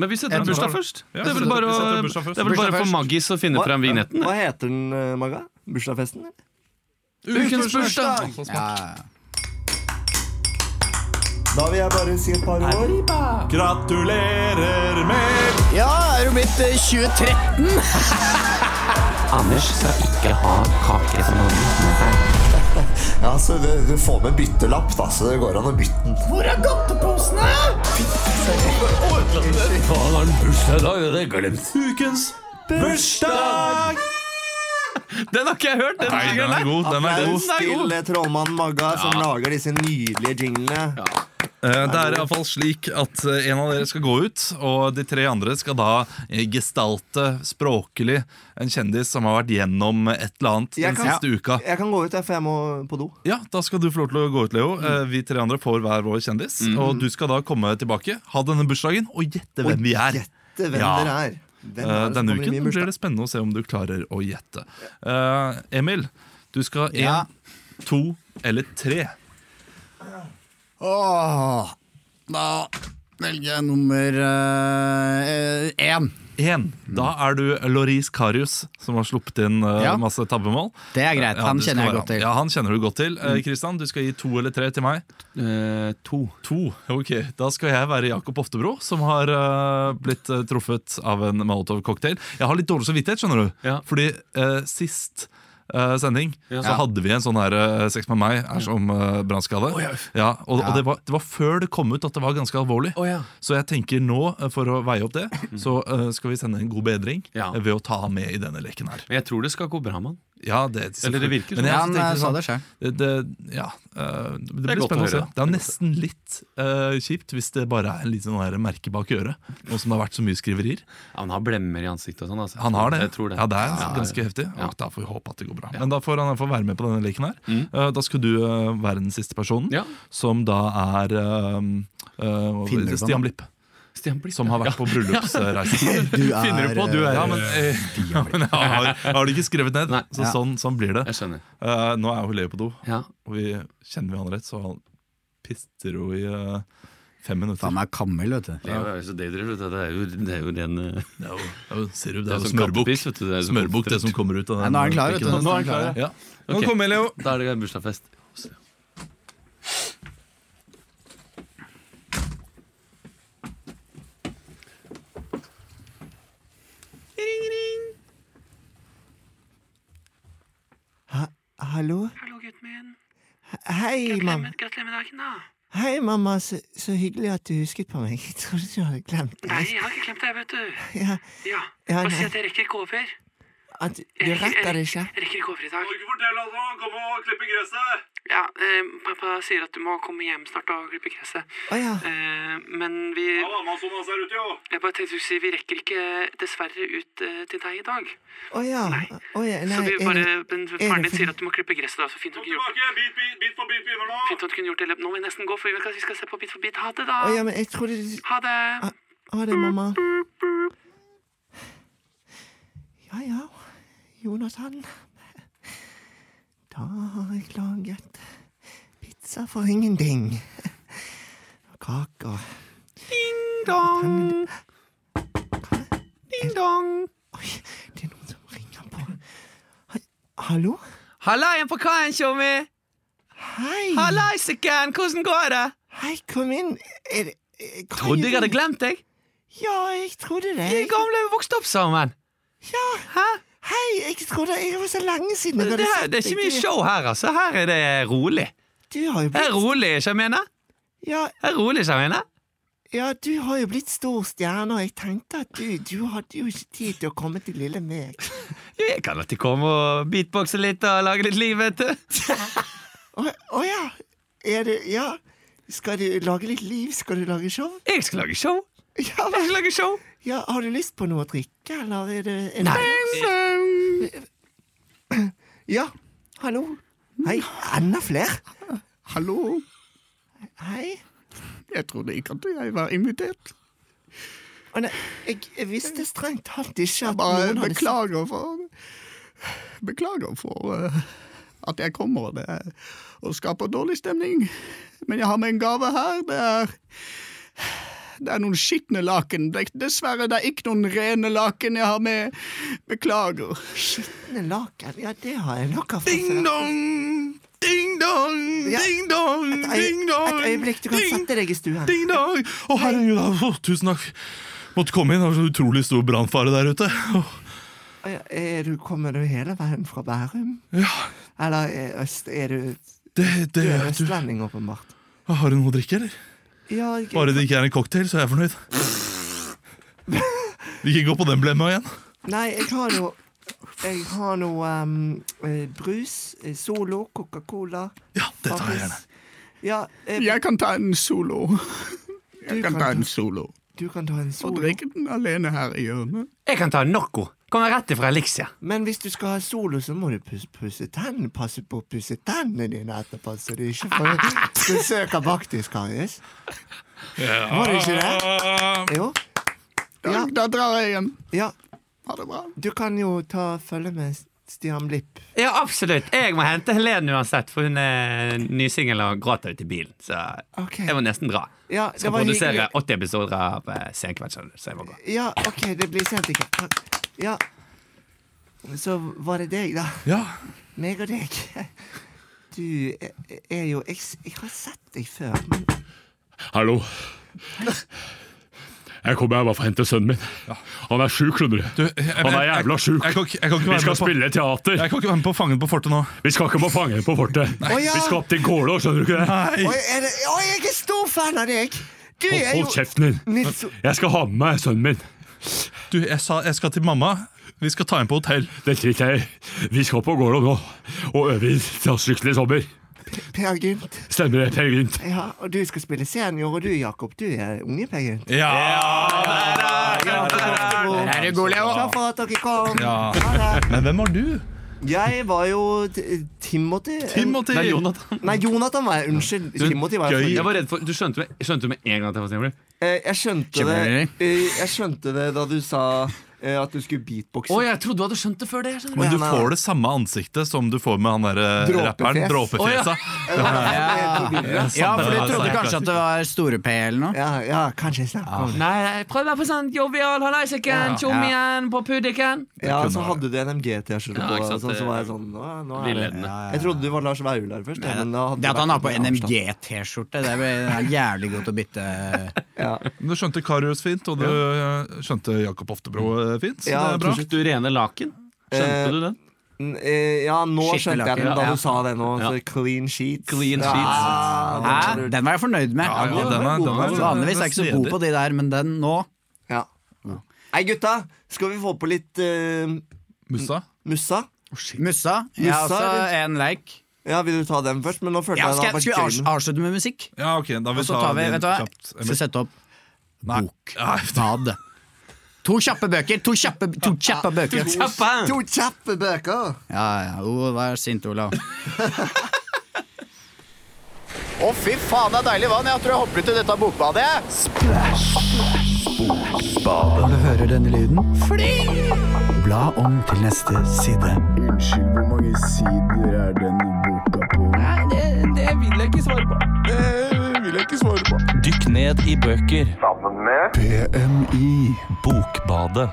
Speaker 2: men vi setter opp
Speaker 1: Ja,
Speaker 2: bursdag
Speaker 1: men-
Speaker 2: først.
Speaker 1: Ja,
Speaker 2: det
Speaker 1: vi
Speaker 2: er vel
Speaker 1: setter-
Speaker 2: bare,
Speaker 1: vi setter
Speaker 2: å-
Speaker 1: opp bursdag først.
Speaker 2: det er vel
Speaker 4: Bursdag
Speaker 2: bare for
Speaker 4: først.
Speaker 2: Maggis å finne fram vignetten.
Speaker 3: hva heter den, eh, Maga? Bursdagsfesten? eller?
Speaker 2: Ukens bursdag!
Speaker 3: Da vil jeg bare si et par år.
Speaker 1: Gratulerer med
Speaker 4: Ja, er du blitt eh, 23?
Speaker 3: Ja, så du, du får med byttelapp, da, så det går an å bytte den. Hvor er godteposene?
Speaker 2: Den har ikke jeg hørt! Den
Speaker 1: Nei, den er god. Den er god.
Speaker 3: Applaus til eh, trollmann Magga som lager disse nydelige jinglene.
Speaker 1: Eh, Det er iallfall slik at eh, en av dere skal gå ut, og de tre andre skal da eh, gestalte språklig en kjendis som har vært gjennom et eller annet
Speaker 3: Jeg
Speaker 1: den
Speaker 3: kan-
Speaker 1: siste uka.
Speaker 3: Jeg kan gå ut, jeg, for jeg må på do.
Speaker 1: Ja, Da skal du få lov til å gå ut, Leo. Eh,
Speaker 3: Mm.
Speaker 1: Vi tre andre får hver vår kjendis. Og du skal da komme tilbake, ha denne bursdagen, og gjette hvem vi er.
Speaker 3: Gjette hvem
Speaker 1: Ja.
Speaker 3: dere er.
Speaker 1: Eh,
Speaker 3: Hvem er det som
Speaker 1: Denne
Speaker 3: kommer i
Speaker 1: uken
Speaker 3: min
Speaker 1: blir
Speaker 3: bursdag?
Speaker 1: det spennende å se om du klarer å gjette. Eh, Emil, du skal én,
Speaker 4: Ja.
Speaker 1: to eller tre.
Speaker 4: Åh, da velger jeg nummer eh, én.
Speaker 1: Én. Da er du Loris Karius, som har sluppet inn eh,
Speaker 4: Ja.
Speaker 1: masse tabbemål.
Speaker 4: det er greit.
Speaker 1: Ja,
Speaker 4: Han
Speaker 1: det skal
Speaker 4: kjenner jeg
Speaker 1: være
Speaker 4: godt til. Mm.
Speaker 1: Ja, han kjenner du godt til. Eh, Kristian, du skal gi to eller tre til meg.
Speaker 2: Eh, to.
Speaker 1: To. Ok, Da skal jeg være Jakob Oftebro, som har eh, blitt eh, truffet av en Molotov-cocktail. Jeg har litt dårlig samvittighet, skjønner du.
Speaker 2: Ja.
Speaker 1: Fordi eh, sist eh, sending
Speaker 2: Ja.
Speaker 1: så hadde vi en sånn her eh, Sex med meg er som uh, brannskade. ja, og og det, var, det var før det kom ut at det var ganske alvorlig. Så jeg tenker nå, eh, for å veie opp det, så eh, skal vi sende en god bedring
Speaker 2: Ja.
Speaker 1: eh, ved å ta han med i denne leken her.
Speaker 2: Men jeg tror det skal gå bra med han.
Speaker 1: Ja, det,
Speaker 2: Eller det virker
Speaker 1: Men
Speaker 2: sånn.
Speaker 1: jeg
Speaker 4: han
Speaker 1: tenkte
Speaker 4: eh, sa
Speaker 1: sånn,
Speaker 4: det sjøl.
Speaker 1: det, det, ja, eh, det blir
Speaker 2: godt å
Speaker 1: spennende å se.
Speaker 2: høre.
Speaker 1: Det er nesten litt eh, kjipt hvis det bare er en liten sånn her merke bak øret. Nå som det har vært så mye skriverier.
Speaker 2: Ja, han har blemmer i ansiktet og sånn. Altså.
Speaker 1: Han har det.
Speaker 2: Jeg tror det.
Speaker 1: Ja, det er ganske heftig.
Speaker 2: Ja.
Speaker 1: Og da får vi håpe at det går bra. Men da får han i hvert fall være med på denne leken her. Eh, da skal du eh, være den siste personen,
Speaker 2: Ja.
Speaker 1: som da er eh, eh,
Speaker 4: Finner du på
Speaker 1: Stian
Speaker 4: noe?
Speaker 1: Blipp.
Speaker 2: Stian Blipp.
Speaker 1: Som har vært på bryllupsreise.
Speaker 4: Du
Speaker 2: Finner du på? Du er
Speaker 1: Ja, men, eh, ja, men jeg har, jeg har det ikke skrevet ned.
Speaker 2: Nei.
Speaker 1: Så
Speaker 4: Ja.
Speaker 1: sånn, sånn blir det.
Speaker 2: Jeg skjønner.
Speaker 1: Eh, nå er jo Leo på do,
Speaker 2: Ja.
Speaker 1: og vi kjenner hverandre rett, så han pister jo i eh, fem minutter.
Speaker 4: Faen meg kammel, vet du.
Speaker 2: Det er jo så daydream, vet du. Det er jo, det er jo ren eh,
Speaker 1: Det er jo, det er jo sirup, det er sånn
Speaker 2: det er
Speaker 1: jo
Speaker 2: som
Speaker 1: smørbukk.
Speaker 2: kattepiss, vet du. Det er jo så
Speaker 1: Smørbukk, det
Speaker 2: konsentrert.
Speaker 1: som kommer ut av den.
Speaker 4: Nei, nå er han klar, vet du.
Speaker 1: pikken.
Speaker 4: Nå er han klar,
Speaker 1: Ja.
Speaker 2: Ok.
Speaker 1: Nå kommer Leo.
Speaker 2: Da er det bursdagsfest.
Speaker 3: Hallo?
Speaker 7: Hallo, gutten min.
Speaker 3: Hei,
Speaker 7: Gratulerer
Speaker 3: mamma.
Speaker 7: med, gratulerer med dagen, da.
Speaker 3: Hei, mamma. Så, så hyggelig at du husket på meg. Jeg trodde du hadde glemt
Speaker 7: Nei,
Speaker 3: meg.
Speaker 7: jeg har ikke glemt deg, vet du.
Speaker 3: Ja,
Speaker 7: Ja,
Speaker 3: Ja,
Speaker 7: Bare
Speaker 3: nei.
Speaker 7: si at jeg rekker ikke over.
Speaker 3: at du retter det ikke.
Speaker 7: Jeg rekker ikke over i dag.
Speaker 1: Ikke fortell at han kom og klippe gresset!
Speaker 7: Ja, eh, Pappa sier at du må komme hjem snart og klippe gresset.
Speaker 3: Å ja.
Speaker 7: Eh, men vi
Speaker 1: Amazonas er ute, jo!
Speaker 7: Jeg bare tenkte å si vi rekker ikke dessverre ut eh, til deg i dag.
Speaker 3: Å ja. Å ja.
Speaker 7: Så
Speaker 3: Nei,
Speaker 7: vi
Speaker 3: er
Speaker 7: bare
Speaker 3: det-
Speaker 7: men
Speaker 3: er
Speaker 7: Faren
Speaker 3: det
Speaker 7: din sier at du må klippe gresset, da. Så fint at du kunne gjort,
Speaker 1: Bit, bit, for bit begynner
Speaker 7: fint at du kunne gjort det. i løpet- Nå må vi nesten gå, for vi skal- vi skal se på Bit for bit. Ha det, da.
Speaker 3: Å ja, men jeg trodde du
Speaker 7: Ha det.
Speaker 3: Ha det, mamma. Ja ja, Jonathan. Da har jeg laget pizza for ingenting. Og kaker. Ding-dong! Ding-dong! Oi, det er noen som ringer på. Hei, Hallo?
Speaker 6: Hallaien på kaien, tjommi!
Speaker 3: Hei!
Speaker 6: Hallaisiken, hvordan går det?
Speaker 3: Hei, kom inn. Er det eh, hva
Speaker 6: Trodde
Speaker 3: gjør
Speaker 6: jeg hadde
Speaker 3: du?
Speaker 6: glemt deg.
Speaker 3: Ja, jeg trodde det.
Speaker 6: Vi gamle har vokst opp sammen.
Speaker 3: Ja.
Speaker 6: Hæ?
Speaker 3: Hei, jeg trodde det var så lenge siden
Speaker 6: Det,
Speaker 3: jeg hadde
Speaker 6: her-
Speaker 3: sett
Speaker 6: det er ikke
Speaker 3: deg.
Speaker 6: mye
Speaker 3: Du-
Speaker 6: show her, altså. Her er det rolig.
Speaker 3: Du har jo
Speaker 6: Det er
Speaker 3: blitt
Speaker 6: rolig, ikke jeg mener?
Speaker 3: ja,
Speaker 6: Det er rolig, ikke jeg mener?
Speaker 3: ja, du har jo blitt stor stjerne, og jeg tenkte at du, du hadde jo ikke tid til å komme til lille meg.
Speaker 6: Jo, jeg kan alltid komme og beatboxe litt og lage litt liv, vet du.
Speaker 3: Å å ja. Er det Ja. Skal du lage litt liv? Skal du lage show?
Speaker 6: Jeg skal lage show.
Speaker 3: Ja,
Speaker 6: Jeg
Speaker 3: vel.
Speaker 6: skal lage show.
Speaker 3: ja Har du lyst på noe å drikke, eller er det en Ja. Hallo. Hei. Enda flere?
Speaker 4: Hallo,
Speaker 3: Hei.
Speaker 4: jeg trodde ikke at jeg var invitert.
Speaker 3: Å, nei, jeg, jeg visste strengt tatt ikke at
Speaker 4: Bare
Speaker 3: noen hadde
Speaker 4: beklager for Beklager for eh, at jeg kommer det er, og skaper dårlig stemning. Men jeg har med en gave her. Det er det er noen skitne laken. Det- Dessverre, det er ikke noen rene laken jeg har med. Beklager.
Speaker 3: Skitne laken? Ja, det har jeg nok av fra før.
Speaker 2: Ding-dong! Ding-dong!
Speaker 3: Ja.
Speaker 2: Ding-dong!
Speaker 3: Et øye-
Speaker 2: Ding-dong!
Speaker 3: Et øyeblikk, du kan sette deg i stuen.
Speaker 1: Ding-dong! Å, herregud, å, tusen takk. Måtte komme inn, det var så utrolig stor brannfare der ute. Å,
Speaker 3: Å, ja, Er du, kommer du hele veien fra Bærum?
Speaker 1: Ja,
Speaker 3: Eller er, øst, er du,
Speaker 1: det,
Speaker 3: du
Speaker 1: det
Speaker 3: er
Speaker 1: du, ah,
Speaker 3: østlending, åpenbart?
Speaker 1: Har du noe å drikke, eller?
Speaker 3: Ja, jeg-
Speaker 1: Bare det ikke er en cocktail, så er jeg fornøyd. Ikke gå på den blemma igjen.
Speaker 3: Nei, jeg har noe Jeg har noe em, eh, brus, eh, Solo, Coca-Cola
Speaker 1: Ja, det tar jeg
Speaker 3: Farris.
Speaker 1: gjerne.
Speaker 3: Ja, eh,
Speaker 4: Jeg kan ta en solo.
Speaker 3: Du
Speaker 4: Jeg kan
Speaker 3: kan
Speaker 4: ta
Speaker 3: ta-
Speaker 4: en solo.
Speaker 3: du kan ta en
Speaker 4: Og
Speaker 3: solo.
Speaker 4: drikke den alene her i hjørnet.
Speaker 6: Jeg kan ta en Nocco. Kommer rett ifra Elixia.
Speaker 3: Men hvis du skal ha solo, så må du pusse, pusse tennene. Passe på å pusse tennene dine etterpå, så du ikke får besøk av bakteriskaries. Må du ikke det? Jo.
Speaker 4: Da,
Speaker 3: Ja.
Speaker 4: da drar jeg hjem.
Speaker 3: Ja,
Speaker 4: Ha det bra.
Speaker 3: du kan jo ta følge med Stian Blipp.
Speaker 6: Ja, absolutt. Jeg må hente Helene uansett, for hun er nysingel og gråter ut i bilen. Så
Speaker 3: Ok.
Speaker 6: jeg må nesten dra.
Speaker 3: Ja, det
Speaker 6: Skal
Speaker 3: var
Speaker 6: produsere
Speaker 3: hyggelig.
Speaker 6: 80 episoder av eh, Senkveld, skjønner du, så jeg må gå.
Speaker 3: Ja, OK, det blir sent i kveld. Ja. Så var det deg, da.
Speaker 1: Ja.
Speaker 3: Meg og deg. Du er- er jo Jeg, s- jeg har sett deg før. Men
Speaker 8: Hallo. Jeg kommer her bare for å hente sønnen min. Han er sjuk, skjønner du.
Speaker 1: Du, jeg- jeg-
Speaker 8: Han er
Speaker 1: jeg-
Speaker 8: jævla sjuk.
Speaker 1: Jeg kan ikke- jeg kan ikke
Speaker 8: Vi
Speaker 1: være
Speaker 8: skal
Speaker 1: med på-
Speaker 8: spille teater.
Speaker 1: Jeg kan ikke være med på Fangen på fortet nå.
Speaker 8: Vi skal ikke på Fangen på fortet.
Speaker 3: ja.
Speaker 8: Vi skal opp til Kålå, skjønner du ikke det?
Speaker 3: Oi, er det, oi, jeg er stor fan av deg! Du
Speaker 8: Hold,
Speaker 3: er
Speaker 8: hold
Speaker 3: jo
Speaker 8: kjeften din.
Speaker 3: Nils
Speaker 8: Jeg skal ha med meg sønnen min.
Speaker 1: Du, jeg sa jeg skal til mamma. Vi skal ta henne på hotell.
Speaker 8: Det driter jeg i. Vi skal på Kålå nå og øve i Translykkelig sommer.
Speaker 3: Per Gynt.
Speaker 8: Stemmer det, Per Gynt?
Speaker 3: Ja, og du skal spille senior, og du, Jakob, du er unge Per Gynt.
Speaker 1: Ja!
Speaker 3: Er det god, Leo? Takk for at dere kom. Ha det.
Speaker 1: Men hvem var du?
Speaker 3: Jeg var jo t- Timothy.
Speaker 1: Timothy!
Speaker 2: Nei, Jonathan.
Speaker 3: Nei, Jonathan var jeg. Unnskyld. Timothy var jeg.
Speaker 2: Jeg var redd for, du skjønte med, skjønte med en gang at jeg var singel?
Speaker 3: Eh, Jeg skjønte det eh, Jeg skjønte det da du sa eh, at du skulle beatboxe.
Speaker 2: Å, jeg trodde du hadde skjønt det før det! skjønner du.
Speaker 1: Men du
Speaker 3: Han er-
Speaker 1: får det samme ansiktet som du får med han der eh,
Speaker 3: Dråpefjes.
Speaker 1: rapperen. Dråpefjesa.
Speaker 3: Ja,
Speaker 4: Ja, for du
Speaker 1: det er
Speaker 4: trodde
Speaker 1: sant.
Speaker 4: kanskje at det var Store-P eller noe?
Speaker 3: ja, ja kanskje jeg snakker om det.
Speaker 6: Nei, nei, prøv å være på sånn jovial, hallaisiken, tjom
Speaker 4: Ja.
Speaker 6: igjen, på puddiken.
Speaker 3: Ja, så hadde du en NMG-T-skjorte
Speaker 2: Ja,
Speaker 3: på,
Speaker 2: ikke sant,
Speaker 3: og sånn,
Speaker 2: det-
Speaker 3: så var jeg sånn nå, nå er det.
Speaker 2: Villedende.
Speaker 3: Jeg trodde du var Lars Vaular først. Ja, men da hadde
Speaker 4: Det at han har på
Speaker 3: vært-
Speaker 4: NMG-T-skjorte, det er jævlig godt å bytte.
Speaker 3: Ja.
Speaker 1: Men Du skjønte Karius fint, og du eh, skjønte Jakob Oftebro eh, fint. Så
Speaker 3: Ja,
Speaker 1: det er bra.
Speaker 3: absolutt.
Speaker 2: Du rene laken. Skjønte
Speaker 3: Eh,
Speaker 2: du den?
Speaker 3: N- eh, Ja,
Speaker 4: Skitne
Speaker 3: nå skjønte jeg
Speaker 4: laken,
Speaker 3: den da
Speaker 4: ja.
Speaker 3: du sa det nå. Så clean sheets.
Speaker 2: Clean
Speaker 3: ja,
Speaker 2: sheets.
Speaker 3: den
Speaker 4: Hæ?
Speaker 3: var lurt.
Speaker 4: Den var jeg fornøyd med.
Speaker 1: Ja, ja, den er- den er-
Speaker 4: Vanligvis er jeg ikke så god på de der, men den nå
Speaker 3: Ja. Hei, gutta. Skal vi få på litt eh,
Speaker 1: Mussa.
Speaker 3: Mussa?
Speaker 4: Mussa. Jeg har
Speaker 3: Mussa,
Speaker 4: også en like.
Speaker 3: Ja, Vil du ta den først? Men nå følte
Speaker 4: Ja,
Speaker 3: jeg
Speaker 4: skal,
Speaker 3: da
Speaker 4: jeg-
Speaker 3: var
Speaker 4: skal vi avs-
Speaker 3: gøy.
Speaker 4: avslutte med musikk?
Speaker 1: Ja, ok, da
Speaker 4: Og
Speaker 1: vil
Speaker 4: så tar vi,
Speaker 1: din
Speaker 4: vet du hva,
Speaker 1: kjapt.
Speaker 4: skal sette opp
Speaker 1: Nei.
Speaker 4: bok.
Speaker 1: Nei,
Speaker 4: Bad. To kjappe bøker! To kjappe, to kjappe bøker!
Speaker 3: To kjappe bøker.
Speaker 4: Ja, ja. Oh, vær sint, Olav.
Speaker 9: Å, fy faen, det er deilig vann. Jeg tror jeg hopper ut i dette bokbadet. jeg.
Speaker 10: Dykk ned i bøker. Sammen med PMI. Bokbadet.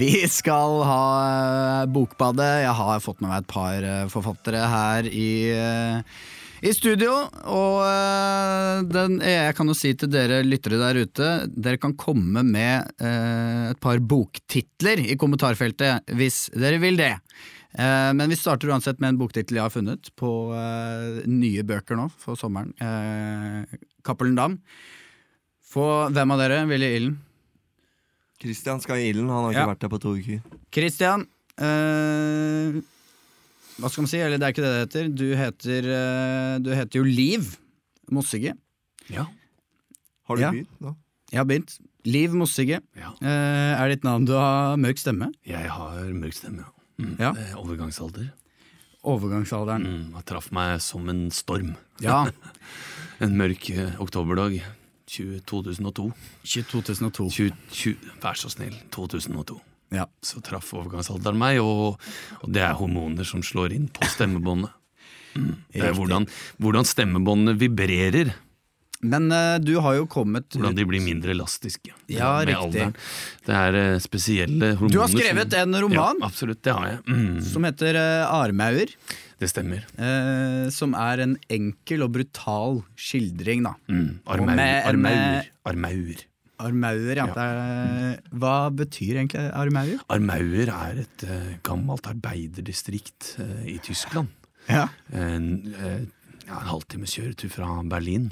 Speaker 4: Vi skal ha eh, Bokbadet. Jeg har fått med meg et par eh, forfattere her i eh, i studio, og eh, den, jeg kan jo si til dere lyttere der ute Dere kan komme med eh, et par boktitler i kommentarfeltet hvis dere vil det. Eh, Men vi starter uansett med en boktittel jeg har funnet på eh, nye bøker nå for sommeren. Eh, Cappelen Dam. For hvem av dere ville i ilden?
Speaker 3: Christian skal i ilden. Han har ikke
Speaker 4: Ja.
Speaker 3: vært der på to uker.
Speaker 4: Kristian, eh, hva skal man si? Eller det er ikke det det heter. Du heter, eh, du heter jo Liv Mossige.
Speaker 3: Har du
Speaker 4: Ja.
Speaker 3: begynt nå?
Speaker 4: Jeg har begynt. Liv Mossige
Speaker 2: Ja.
Speaker 4: eh, er ditt navn. Du har mørk stemme.
Speaker 2: Jeg har mørk stemme. ja. Mm.
Speaker 4: Ja.
Speaker 2: Eh, Overgangsalder.
Speaker 4: Overgangsalderen.
Speaker 2: Mm, jeg traff meg som en storm.
Speaker 4: Ja.
Speaker 2: En mørk eh, oktoberdag. 20, 2002.
Speaker 4: 2002.
Speaker 2: 20, 20, vær så snill. 2002.
Speaker 4: Ja.
Speaker 2: Så traff overgangsalderen meg, og, og det er hormoner som slår inn på stemmebåndet. Mm. Det er
Speaker 4: Riktig.
Speaker 2: hvordan, hvordan stemmebåndene vibrerer,
Speaker 4: Men eh, du har jo kommet
Speaker 2: hvordan de blir mindre elastiske
Speaker 4: Ja,
Speaker 2: med
Speaker 4: riktig.
Speaker 2: alderen. Det er eh, spesielle hormoner
Speaker 4: Du har skrevet
Speaker 2: som,
Speaker 4: en roman
Speaker 2: Ja, absolutt. Det har jeg. Mm,
Speaker 4: som heter eh, Armauer.
Speaker 2: det stemmer.
Speaker 4: Eh, som er en enkel og brutal skildring, da.
Speaker 2: Mm. Armaur,
Speaker 4: med- med-
Speaker 2: armaur, armaur.
Speaker 4: Armauer, ja. Det er, eh, hva betyr egentlig armauer?
Speaker 2: Armauer er et eh, gammelt arbeiderdistrikt eh, i Tyskland.
Speaker 4: Ja.
Speaker 2: eh, En, eh, ja, en halvtimes kjøretur fra Berlin.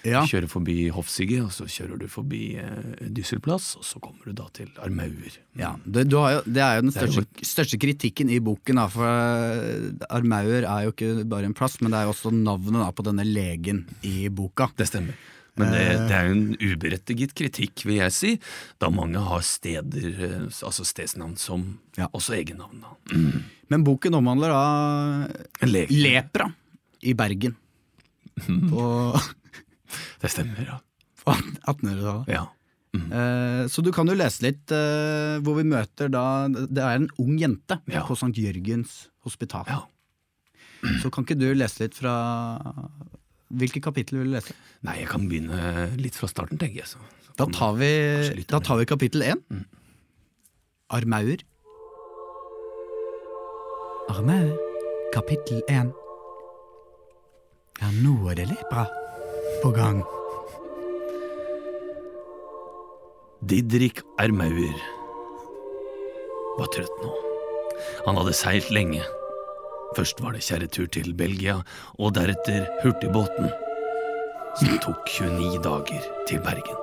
Speaker 4: Ja.
Speaker 2: Du kjører forbi Hofsige, og så kjører du forbi eh, Düsselplass, og så kommer du da til Armauer.
Speaker 4: Ja, det, du har jo, det er jo den
Speaker 2: Det er jo
Speaker 4: største, største kritikken i boken, da, for eh, Armauer er jo ikke bare en plass, men det er jo også navnet da, på denne legen i boka.
Speaker 2: Det stemmer. Men det, det er jo en uberettiget kritikk, vil jeg si, da mange har steder, eh, altså stedsnavn som også egennavn. da.
Speaker 4: Men boken omhandler da eh,
Speaker 2: En lege.
Speaker 4: lepra i Bergen. På
Speaker 2: Det stemmer, ja.
Speaker 4: på 1800-tallet.
Speaker 2: ja.
Speaker 4: Eh, Så du kan jo lese litt eh, hvor vi møter da Det er en ung jente på St. Jørgens hospital. Så kan ikke du lese litt fra Hvilke kapitler vil du lese?
Speaker 2: Nei, jeg kan begynne litt fra starten, tenker jeg. Så. Sånn.
Speaker 4: Da tar vi, da tar vi kapittel én. Armauer. Armauer, kapittel én. Ja, nå er det lepra på gang.
Speaker 2: Didrik Ermauer var trøtt nå. Han hadde seilt lenge. Først var det kjerretur til Belgia, og deretter hurtigbåten, som tok 29 dager til Bergen.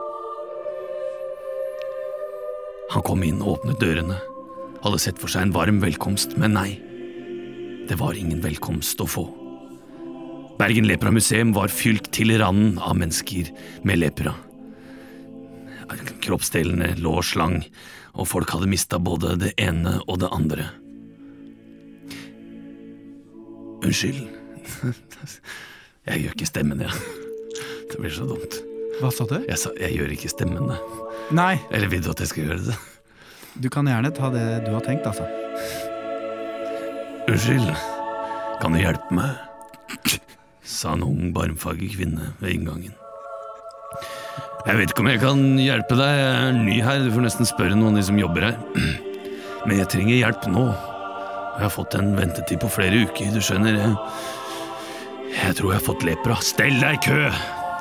Speaker 2: Han kom inn og åpnet dørene, hadde sett for seg en varm velkomst, men nei. Det var ingen velkomst å få. Bergen Lepramuseum var fylt til randen av mennesker med lepra. Kroppsdelene lå slang, og folk hadde mista både det ene og det andre. Unnskyld. Jeg gjør ikke stemmen, jeg. Det blir så dumt.
Speaker 4: Hva sa du?
Speaker 2: Jeg, sa, jeg gjør ikke stemmene.
Speaker 4: Nei,
Speaker 2: Eller vil du at jeg skal gjøre det?
Speaker 4: du kan gjerne ta det du har tenkt, altså.
Speaker 2: Unnskyld, kan du hjelpe meg? sa en ung, barmfaget kvinne ved inngangen. Jeg vet ikke om jeg kan hjelpe deg, jeg er ny her, du får nesten spørre noen av de som jobber her. Men jeg trenger hjelp nå. Jeg har fått en ventetid på flere uker, du skjønner. Jeg, jeg tror jeg har fått lepra. Stell deg i kø!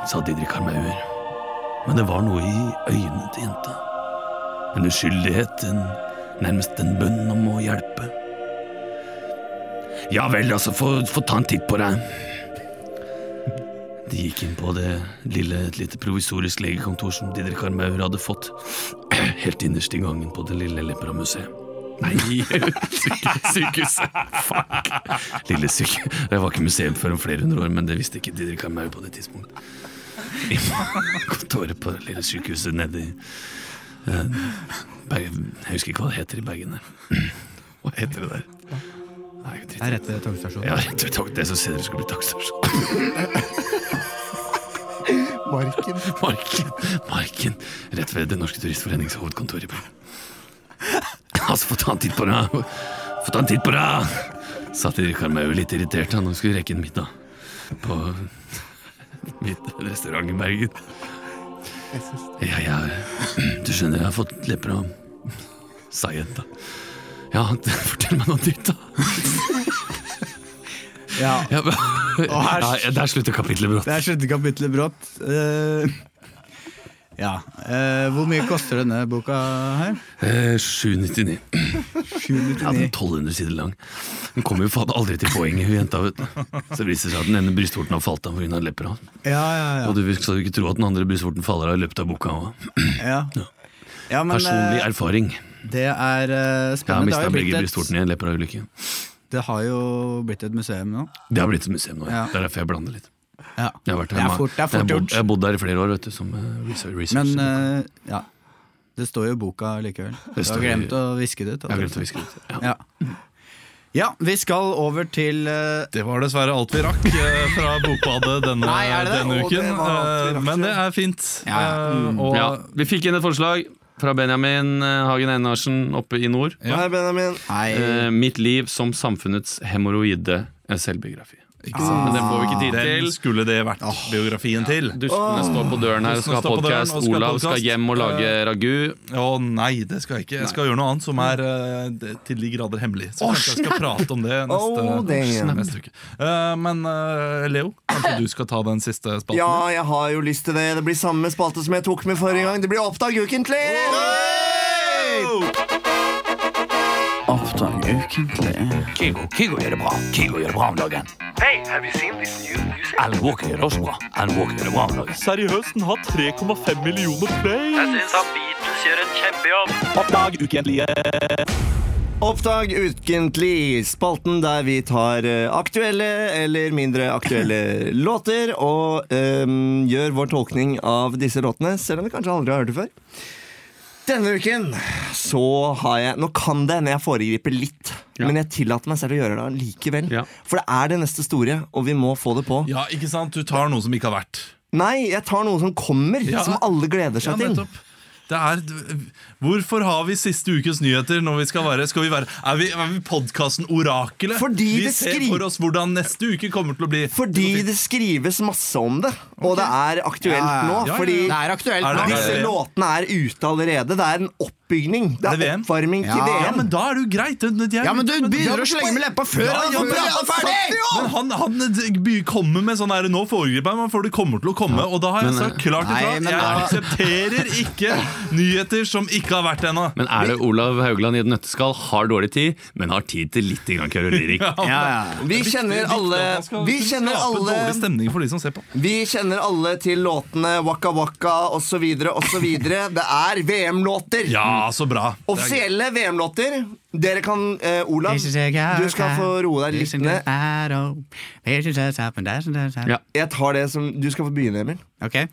Speaker 2: sa Didrik Armauer. Men det var noe i øynene til jenta. En uskyldighet, en, nærmest en bønn om å hjelpe. Ja vel, altså, få, få ta en titt på deg. De gikk inn på det lille, et lite provisorisk legekontor som Didrik Armauer hadde fått helt innerst i gangen på det lille Lepra-museet. Nei, syke- sykehuset. Fuck. Lille syke... Det var ikke museum før om flere hundre år, men det visste ikke Didrik Armauer på det tidspunktet. I kontoret på det lille sykehuset nede i eh, Bergen Jeg husker ikke hva det heter i Bergen. der. Hva heter det der? Nei,
Speaker 4: Det er rett ved togstasjonen.
Speaker 2: Ja, rett ved tog, det som senere skulle bli togstasjon.
Speaker 3: Marken.
Speaker 2: Marken, Marken, rett ved Den norske turistforenings hovedkontor i Bergen. Altså, få ta en titt på deg! Få ta en titt på deg! Satt Erik Armau litt irritert, han og skulle rekke en middag på mitt restaurant i Bergen. Ja, ja, du skjønner, jeg har fått lepra, sa jenta. Ja, fortell meg noe nytt, da.
Speaker 4: Ja.
Speaker 2: Ja, men-
Speaker 4: Og her-
Speaker 2: Ja, der slutter kapitlet brått.
Speaker 4: Det er slutte kapitlet brått. Eh, ja. eh, hvor mye koster denne boka her?
Speaker 2: Eh, 799. Ja, den er
Speaker 4: 799.
Speaker 2: 1200 sider lang. Den kommer jo faen aldri til poenget, hun jenta. vet du. Så det viser seg at den ene brystvorten har falt av pga. lepra.
Speaker 4: Ja, ja,
Speaker 2: Og du skal jo ikke tro at den andre brystvorten faller av i løpet av boka. også.
Speaker 4: ja. ja. ja men, eh,
Speaker 2: Personlig erfaring.
Speaker 4: Det er eh,
Speaker 2: Jeg har
Speaker 4: spennende. Det
Speaker 2: mista
Speaker 4: har, jo
Speaker 2: begge
Speaker 4: blitt
Speaker 2: brystvortene i en lepraulykke.
Speaker 4: et, det har jo blitt et museum nå.
Speaker 2: Det har blitt et museum nå. Ja.
Speaker 4: Ja.
Speaker 2: Det er derfor jeg blander litt.
Speaker 4: Ja.
Speaker 2: Jeg har vært her
Speaker 4: Det er
Speaker 2: ma-
Speaker 4: fort- det er fort
Speaker 2: jeg har bodd-
Speaker 4: gjort.
Speaker 2: Jeg har bodd der i flere år, vet du, som eh, research. research.
Speaker 4: Men eh, ja. Det står jo i boka likevel. Du
Speaker 2: står
Speaker 4: har
Speaker 2: i-
Speaker 4: glemt å viske det ut.
Speaker 2: jeg har glemt å viske det ut. altså. Ja.
Speaker 4: Ja. ja, vi skal over til eh,
Speaker 1: Det var dessverre alt vi rakk eh, fra Bokbadet denne,
Speaker 4: Nei, er det det?
Speaker 1: denne
Speaker 4: Å,
Speaker 1: uken.
Speaker 4: det var alt vi
Speaker 1: eh,
Speaker 4: rakk,
Speaker 1: men det er fint.
Speaker 4: Ja, Mm.
Speaker 1: Eh, og
Speaker 2: Ja, vi fikk inn et forslag fra Benjamin eh, Hagen Einarsen oppe i nord.
Speaker 1: Ja.
Speaker 3: Hei, Benjamin.
Speaker 4: Hei.
Speaker 2: Eh, mitt liv som samfunnets hemoroide eh, selvbiografi.
Speaker 1: Ikke sant?
Speaker 2: Men den får vi ikke tid
Speaker 1: Den
Speaker 2: til.
Speaker 1: skulle det vært biografien til.
Speaker 2: Dustene står på døren her og skal ha
Speaker 1: Dustene står på døren
Speaker 2: podkast.
Speaker 1: og skal ha
Speaker 2: Olav skal
Speaker 1: podcast. Eh.
Speaker 2: hjem og lage ragu.
Speaker 1: Å nei, det skal jeg ikke. Jeg skal gjøre noe annet som er eh, det- til de grader hemmelig. Så kanskje jeg skal prate om det
Speaker 3: Oh,
Speaker 1: neste,
Speaker 3: damn.
Speaker 1: neste uke. Eh, men eh, Leo, kanskje du skal ta den siste spalten?
Speaker 3: Ja, jeg har jo lyst til det. Det blir samme spalte som jeg tok med forrige
Speaker 4: Ah.
Speaker 3: gang. Det blir Oppdag ukentlig!
Speaker 11: Torsdag ukentlig. Kygo, Kygo gjør det bra. Kygo gjør det bra om dagen.
Speaker 6: Hey, have you seen this new music?
Speaker 11: Alan Walker gjør det også bra. Alan Walker gjør det bra om dagen.
Speaker 6: Seriøst, den har 3,5 millioner play. Jeg syns at Beatles gjør en kjempejobb. Oppdag ukentlige.
Speaker 3: Oppdag ukentlig, spalten der vi tar eh, aktuelle eller mindre aktuelle låter og ehm, gjør vår tolkning av disse låtene, selv om vi kanskje aldri har hørt det før. Denne uken så har jeg Nå kan det hende jeg foregriper litt, men jeg tillater meg selv å gjøre det likevel. For det er det neste store, og vi må få det på.
Speaker 1: Ja, ikke sant? Du tar noe som ikke har vært.
Speaker 3: Nei, jeg tar noe som kommer,
Speaker 1: Ja.
Speaker 3: som alle gleder
Speaker 1: Ja,
Speaker 3: seg til.
Speaker 1: nettopp. Det er, hvorfor har vi siste ukes nyheter når vi skal være Skal vi være Er vi, er vi podkasten Orakelet?
Speaker 3: Fordi
Speaker 1: vi
Speaker 3: det
Speaker 1: ser
Speaker 3: skri-
Speaker 1: for oss hvordan neste uke kommer til å bli.
Speaker 3: Fordi det skrives masse om det, og det er aktuelt
Speaker 1: Ja, ja, ja.
Speaker 3: nå.
Speaker 1: Ja, ja, ja.
Speaker 3: Fordi
Speaker 1: Det er aktuelt Er det- nå.
Speaker 3: disse
Speaker 1: er det-
Speaker 3: låtene er ute allerede. Det er en oppbygning. Det er, oppvarming til
Speaker 1: Ja.
Speaker 3: VM.
Speaker 1: Ja, men da er det jo greit. Det- det er-
Speaker 3: Ja, men du
Speaker 1: Ja,
Speaker 3: begynner å slenge med leppa før han
Speaker 1: ja,
Speaker 3: får
Speaker 1: men-
Speaker 3: prata ferdig!
Speaker 1: Men han, han by- kommer med sånn her Nå foregriper jeg meg, for det kommer til å komme. Og da har jeg
Speaker 2: Men,
Speaker 1: sagt klart
Speaker 2: nei,
Speaker 1: ifra.
Speaker 2: men
Speaker 1: Jeg
Speaker 2: da-
Speaker 1: aksepterer ikke nyheter som ikke har vært ennå.
Speaker 2: Men er det Olav Haugland i et nøtteskall har dårlig tid, men har tid til litt grann kørolering?
Speaker 3: Vi kjenner alle Vi kjenner alle
Speaker 1: dårlig stemning for de som ser på.
Speaker 3: vi kjenner alle til låtene Waka Waka osv. osv. Det er VM-låter.
Speaker 1: Ja, så bra. Det er
Speaker 3: Offisielle VM-låter. Dere kan eh, Olav, du skal få roe deg litt
Speaker 12: ned.
Speaker 3: ned. Jeg tar det som Du skal få begynne, Emil.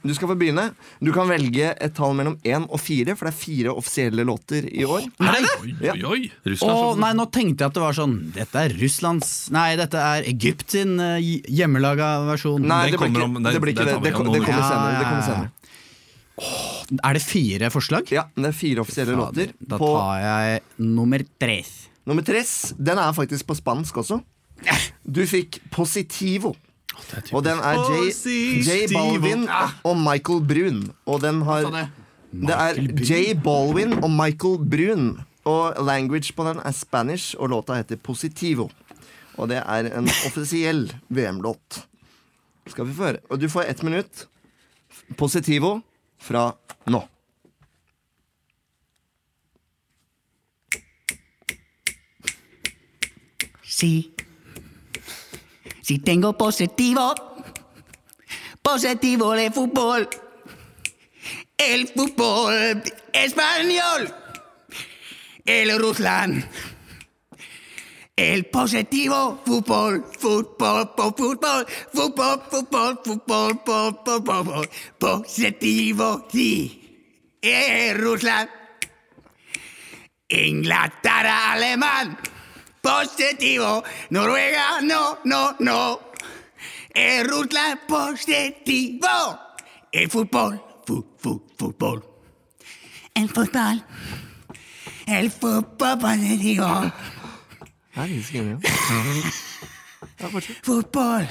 Speaker 3: Du skal få begynne Du kan velge et tall mellom én og fire, for det er fire offisielle låter i
Speaker 12: Er
Speaker 3: år.
Speaker 12: det
Speaker 3: Ja.
Speaker 12: Å, nei, nå tenkte jeg at det var sånn Dette er Russlands Nei, dette er Egypt sin eh, hjemmelaga versjon.
Speaker 3: Nei, det blir ikke det. blir ikke det. Det kom- det kommer senere. Det kommer senere.
Speaker 12: Er det fire forslag?
Speaker 3: Ja, det er fire offisielle låter.
Speaker 12: Da tar jeg nummer tre.
Speaker 3: Nummer tres, den er faktisk på spansk også. Du fikk Positivo. Og den er J, J Balvin og Michael Brun. Og den har Det er J Balvin og Michael Brun. Og language på den er spanish, og låta heter Positivo. Og det er en offisiell VM-låt. Skal vi få høre. Og du får ett minutt. Positivo fra nå.
Speaker 4: Sí. Si tengo positivo, positivo de fútbol. El fútbol español. El Ruslan. El positivo fútbol, fútbol, fútbol, fútbol, fútbol, fútbol, fútbol, fútbol, fútbol, fútbol. positivo, sí. El Ruslan. Inglaterra, alemán. Positivo. Noruega, no, no, no. El Rusland, positivo. El fútbol, fu, fu, fútbol. El fútbol. El fútbol positivo. Fútbol.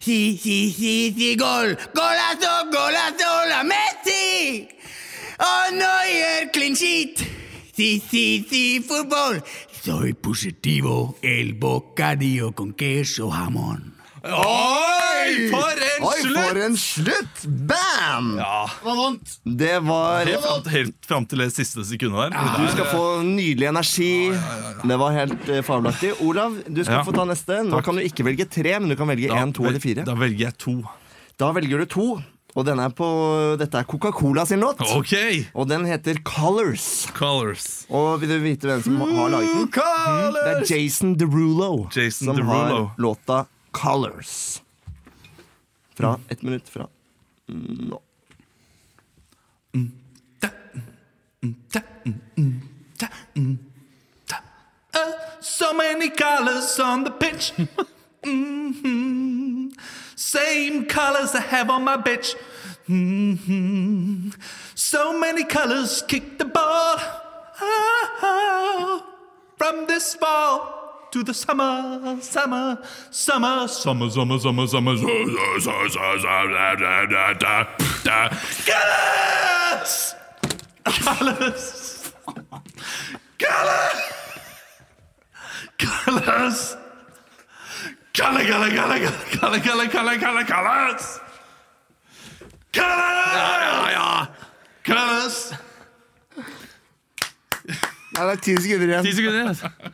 Speaker 4: Sí, sí, sí, sí, gol. Golazo, golazo, la Messi. Oh no, y el clean sheet. Sí, sí, sí, fútbol. Soy positivo, el bocadillo con queso jamón.
Speaker 1: Oi, for en
Speaker 3: Oi,
Speaker 1: slutt!
Speaker 3: for en slutt! Bam!
Speaker 1: Ja.
Speaker 3: Det var
Speaker 1: Helt fram, helt fram til det siste sekundet der.
Speaker 3: Du skal få nydelig energi. Det var helt eh, fabelaktig. Olav, du skal
Speaker 1: Ja.
Speaker 3: få ta neste. Nå kan du ikke velge tre, men du kan velge én, to eller fire.
Speaker 1: Da velger jeg to.
Speaker 3: Da velger du to, og denne er på, dette er Coca-Cola sin låt.
Speaker 1: Ok.
Speaker 3: Og den heter Colors.
Speaker 1: Colors.
Speaker 3: Og vil du vite hvem som har laget den? Det er Jason Derulo
Speaker 1: Jason
Speaker 3: som
Speaker 1: Derulo.
Speaker 3: har låta Colors. Fra ett minutt fra nå.
Speaker 6: Uh, so many colors on the pitch. Mhm. Same colors I have on my bitch. Mhm. So many colors kick the ball. Oh, from this fall to the summer, summer, summer, summer, summer, summer, summer. summer, summer, summer, summer, da, da, da, da. Colors! Colors! Colors! Colors! Color, color, color, color, color, color, color, colors! Colors! Ja, ja, ja. Colors!
Speaker 3: Nei, det er ti sekunder igjen.
Speaker 13: Ti sekunder igjen.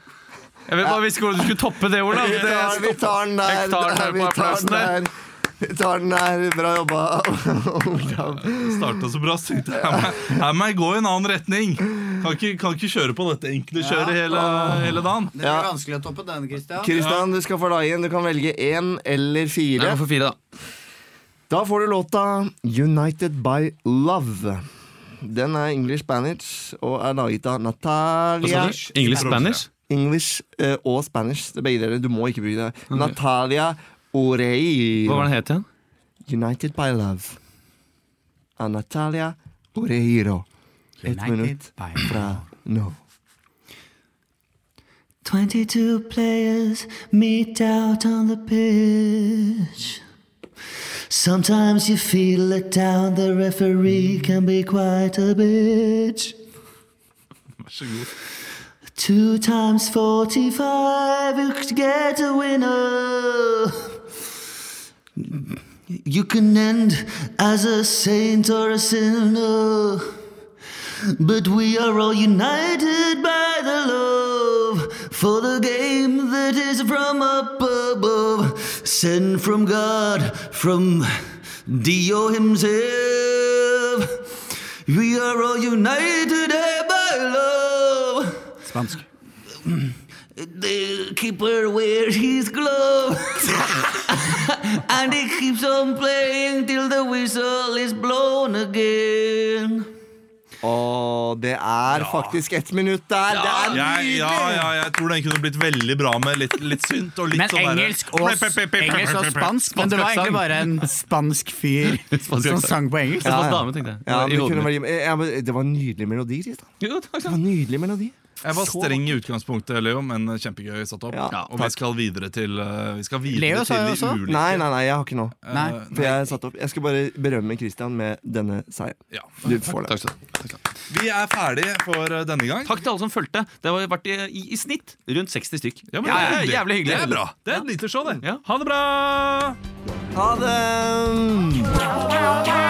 Speaker 2: Jeg vet bare ikke hvordan du skulle toppe det, Olav.
Speaker 3: Vi tar, vi tar den der.
Speaker 2: Jeg tar den her
Speaker 3: vi
Speaker 2: på
Speaker 3: tar
Speaker 2: applausen
Speaker 3: den
Speaker 2: der.
Speaker 3: der. Vi tar den der. Bra jobba, Olav.
Speaker 1: Starta så bra, så tenkte jeg her må jeg- her må jeg gå i en annen retning. Kan ikke, kan ikke kjøre på dette enkle kjøret hele, hele dagen.
Speaker 4: Det blir vanskelig å toppe denne, Christian.
Speaker 3: Kristian, du skal få deg igjen. Du kan velge én eller fire.
Speaker 4: Jeg går for
Speaker 2: fire,
Speaker 3: da. Da får du låta 'United by Love'. Den er English Spanish og er laget av
Speaker 2: Hva
Speaker 3: Natalia
Speaker 2: sa du? English Spanish?
Speaker 3: English eh, og Spanish. Det er begge deler. Du må ikke bruke det. Natalia Orei.
Speaker 2: Hva var den het igjen?
Speaker 3: United by Love. Av Natalia Oreiro. Ett
Speaker 4: United
Speaker 3: minutt fra nå.
Speaker 14: 22 players meet out on the pitch. Sometimes you feel let down, the referee can be quite a bitch.
Speaker 1: Vær så god.
Speaker 14: Two times 45, you could get a winner. You can end as a saint or a sinner. But we are all united by the love for the game that is from up above, sent from God, from Dio himself. We are all united by love.
Speaker 4: Spansk.
Speaker 14: The keeper wears his glove and he keeps on playing till the whistle is blown again.
Speaker 3: Og det er faktisk ett minutt der. det er
Speaker 1: jeg,
Speaker 3: nydelig!
Speaker 1: ja, ja, jeg tror den kunne blitt veldig bra med litt, litt synt og litt
Speaker 4: Men
Speaker 1: sånn derre-
Speaker 4: engelsk og, engelsk og spansk. Men det var egentlig bare en spansk fyr som
Speaker 3: aksent.
Speaker 4: sang på engelsk.
Speaker 3: Ja, ja. Ja, men det, kunne vært- eh, ja, men det var en nydelig melodi, Kristian.
Speaker 2: Det
Speaker 3: var en nydelig melodi.
Speaker 1: Jeg var
Speaker 3: Så-
Speaker 1: streng i utgangspunktet, Leo, men kjempegøy satt opp. og vi skal videre til, eh, vi skal videre
Speaker 3: Leo sa
Speaker 1: til
Speaker 3: jo
Speaker 1: de
Speaker 3: også.
Speaker 1: ulike
Speaker 3: Nei, nei, nei, jeg har ikke noe.
Speaker 1: Nei.
Speaker 3: For jeg satt opp. Jeg skal bare berømme Kristian med denne seieren. Du får det.
Speaker 1: Vi er ferdige for eh, denne gang.
Speaker 2: Takk til alle som fulgte. Det har vært i, i, i snitt rundt 60 stykk.
Speaker 1: Ja, men
Speaker 2: Ja,
Speaker 1: det er
Speaker 2: ja,
Speaker 1: hyggelig.
Speaker 2: jævlig hyggelig.
Speaker 1: Det er bra. Det er et lite show, det. Ha det bra!
Speaker 3: Ha det!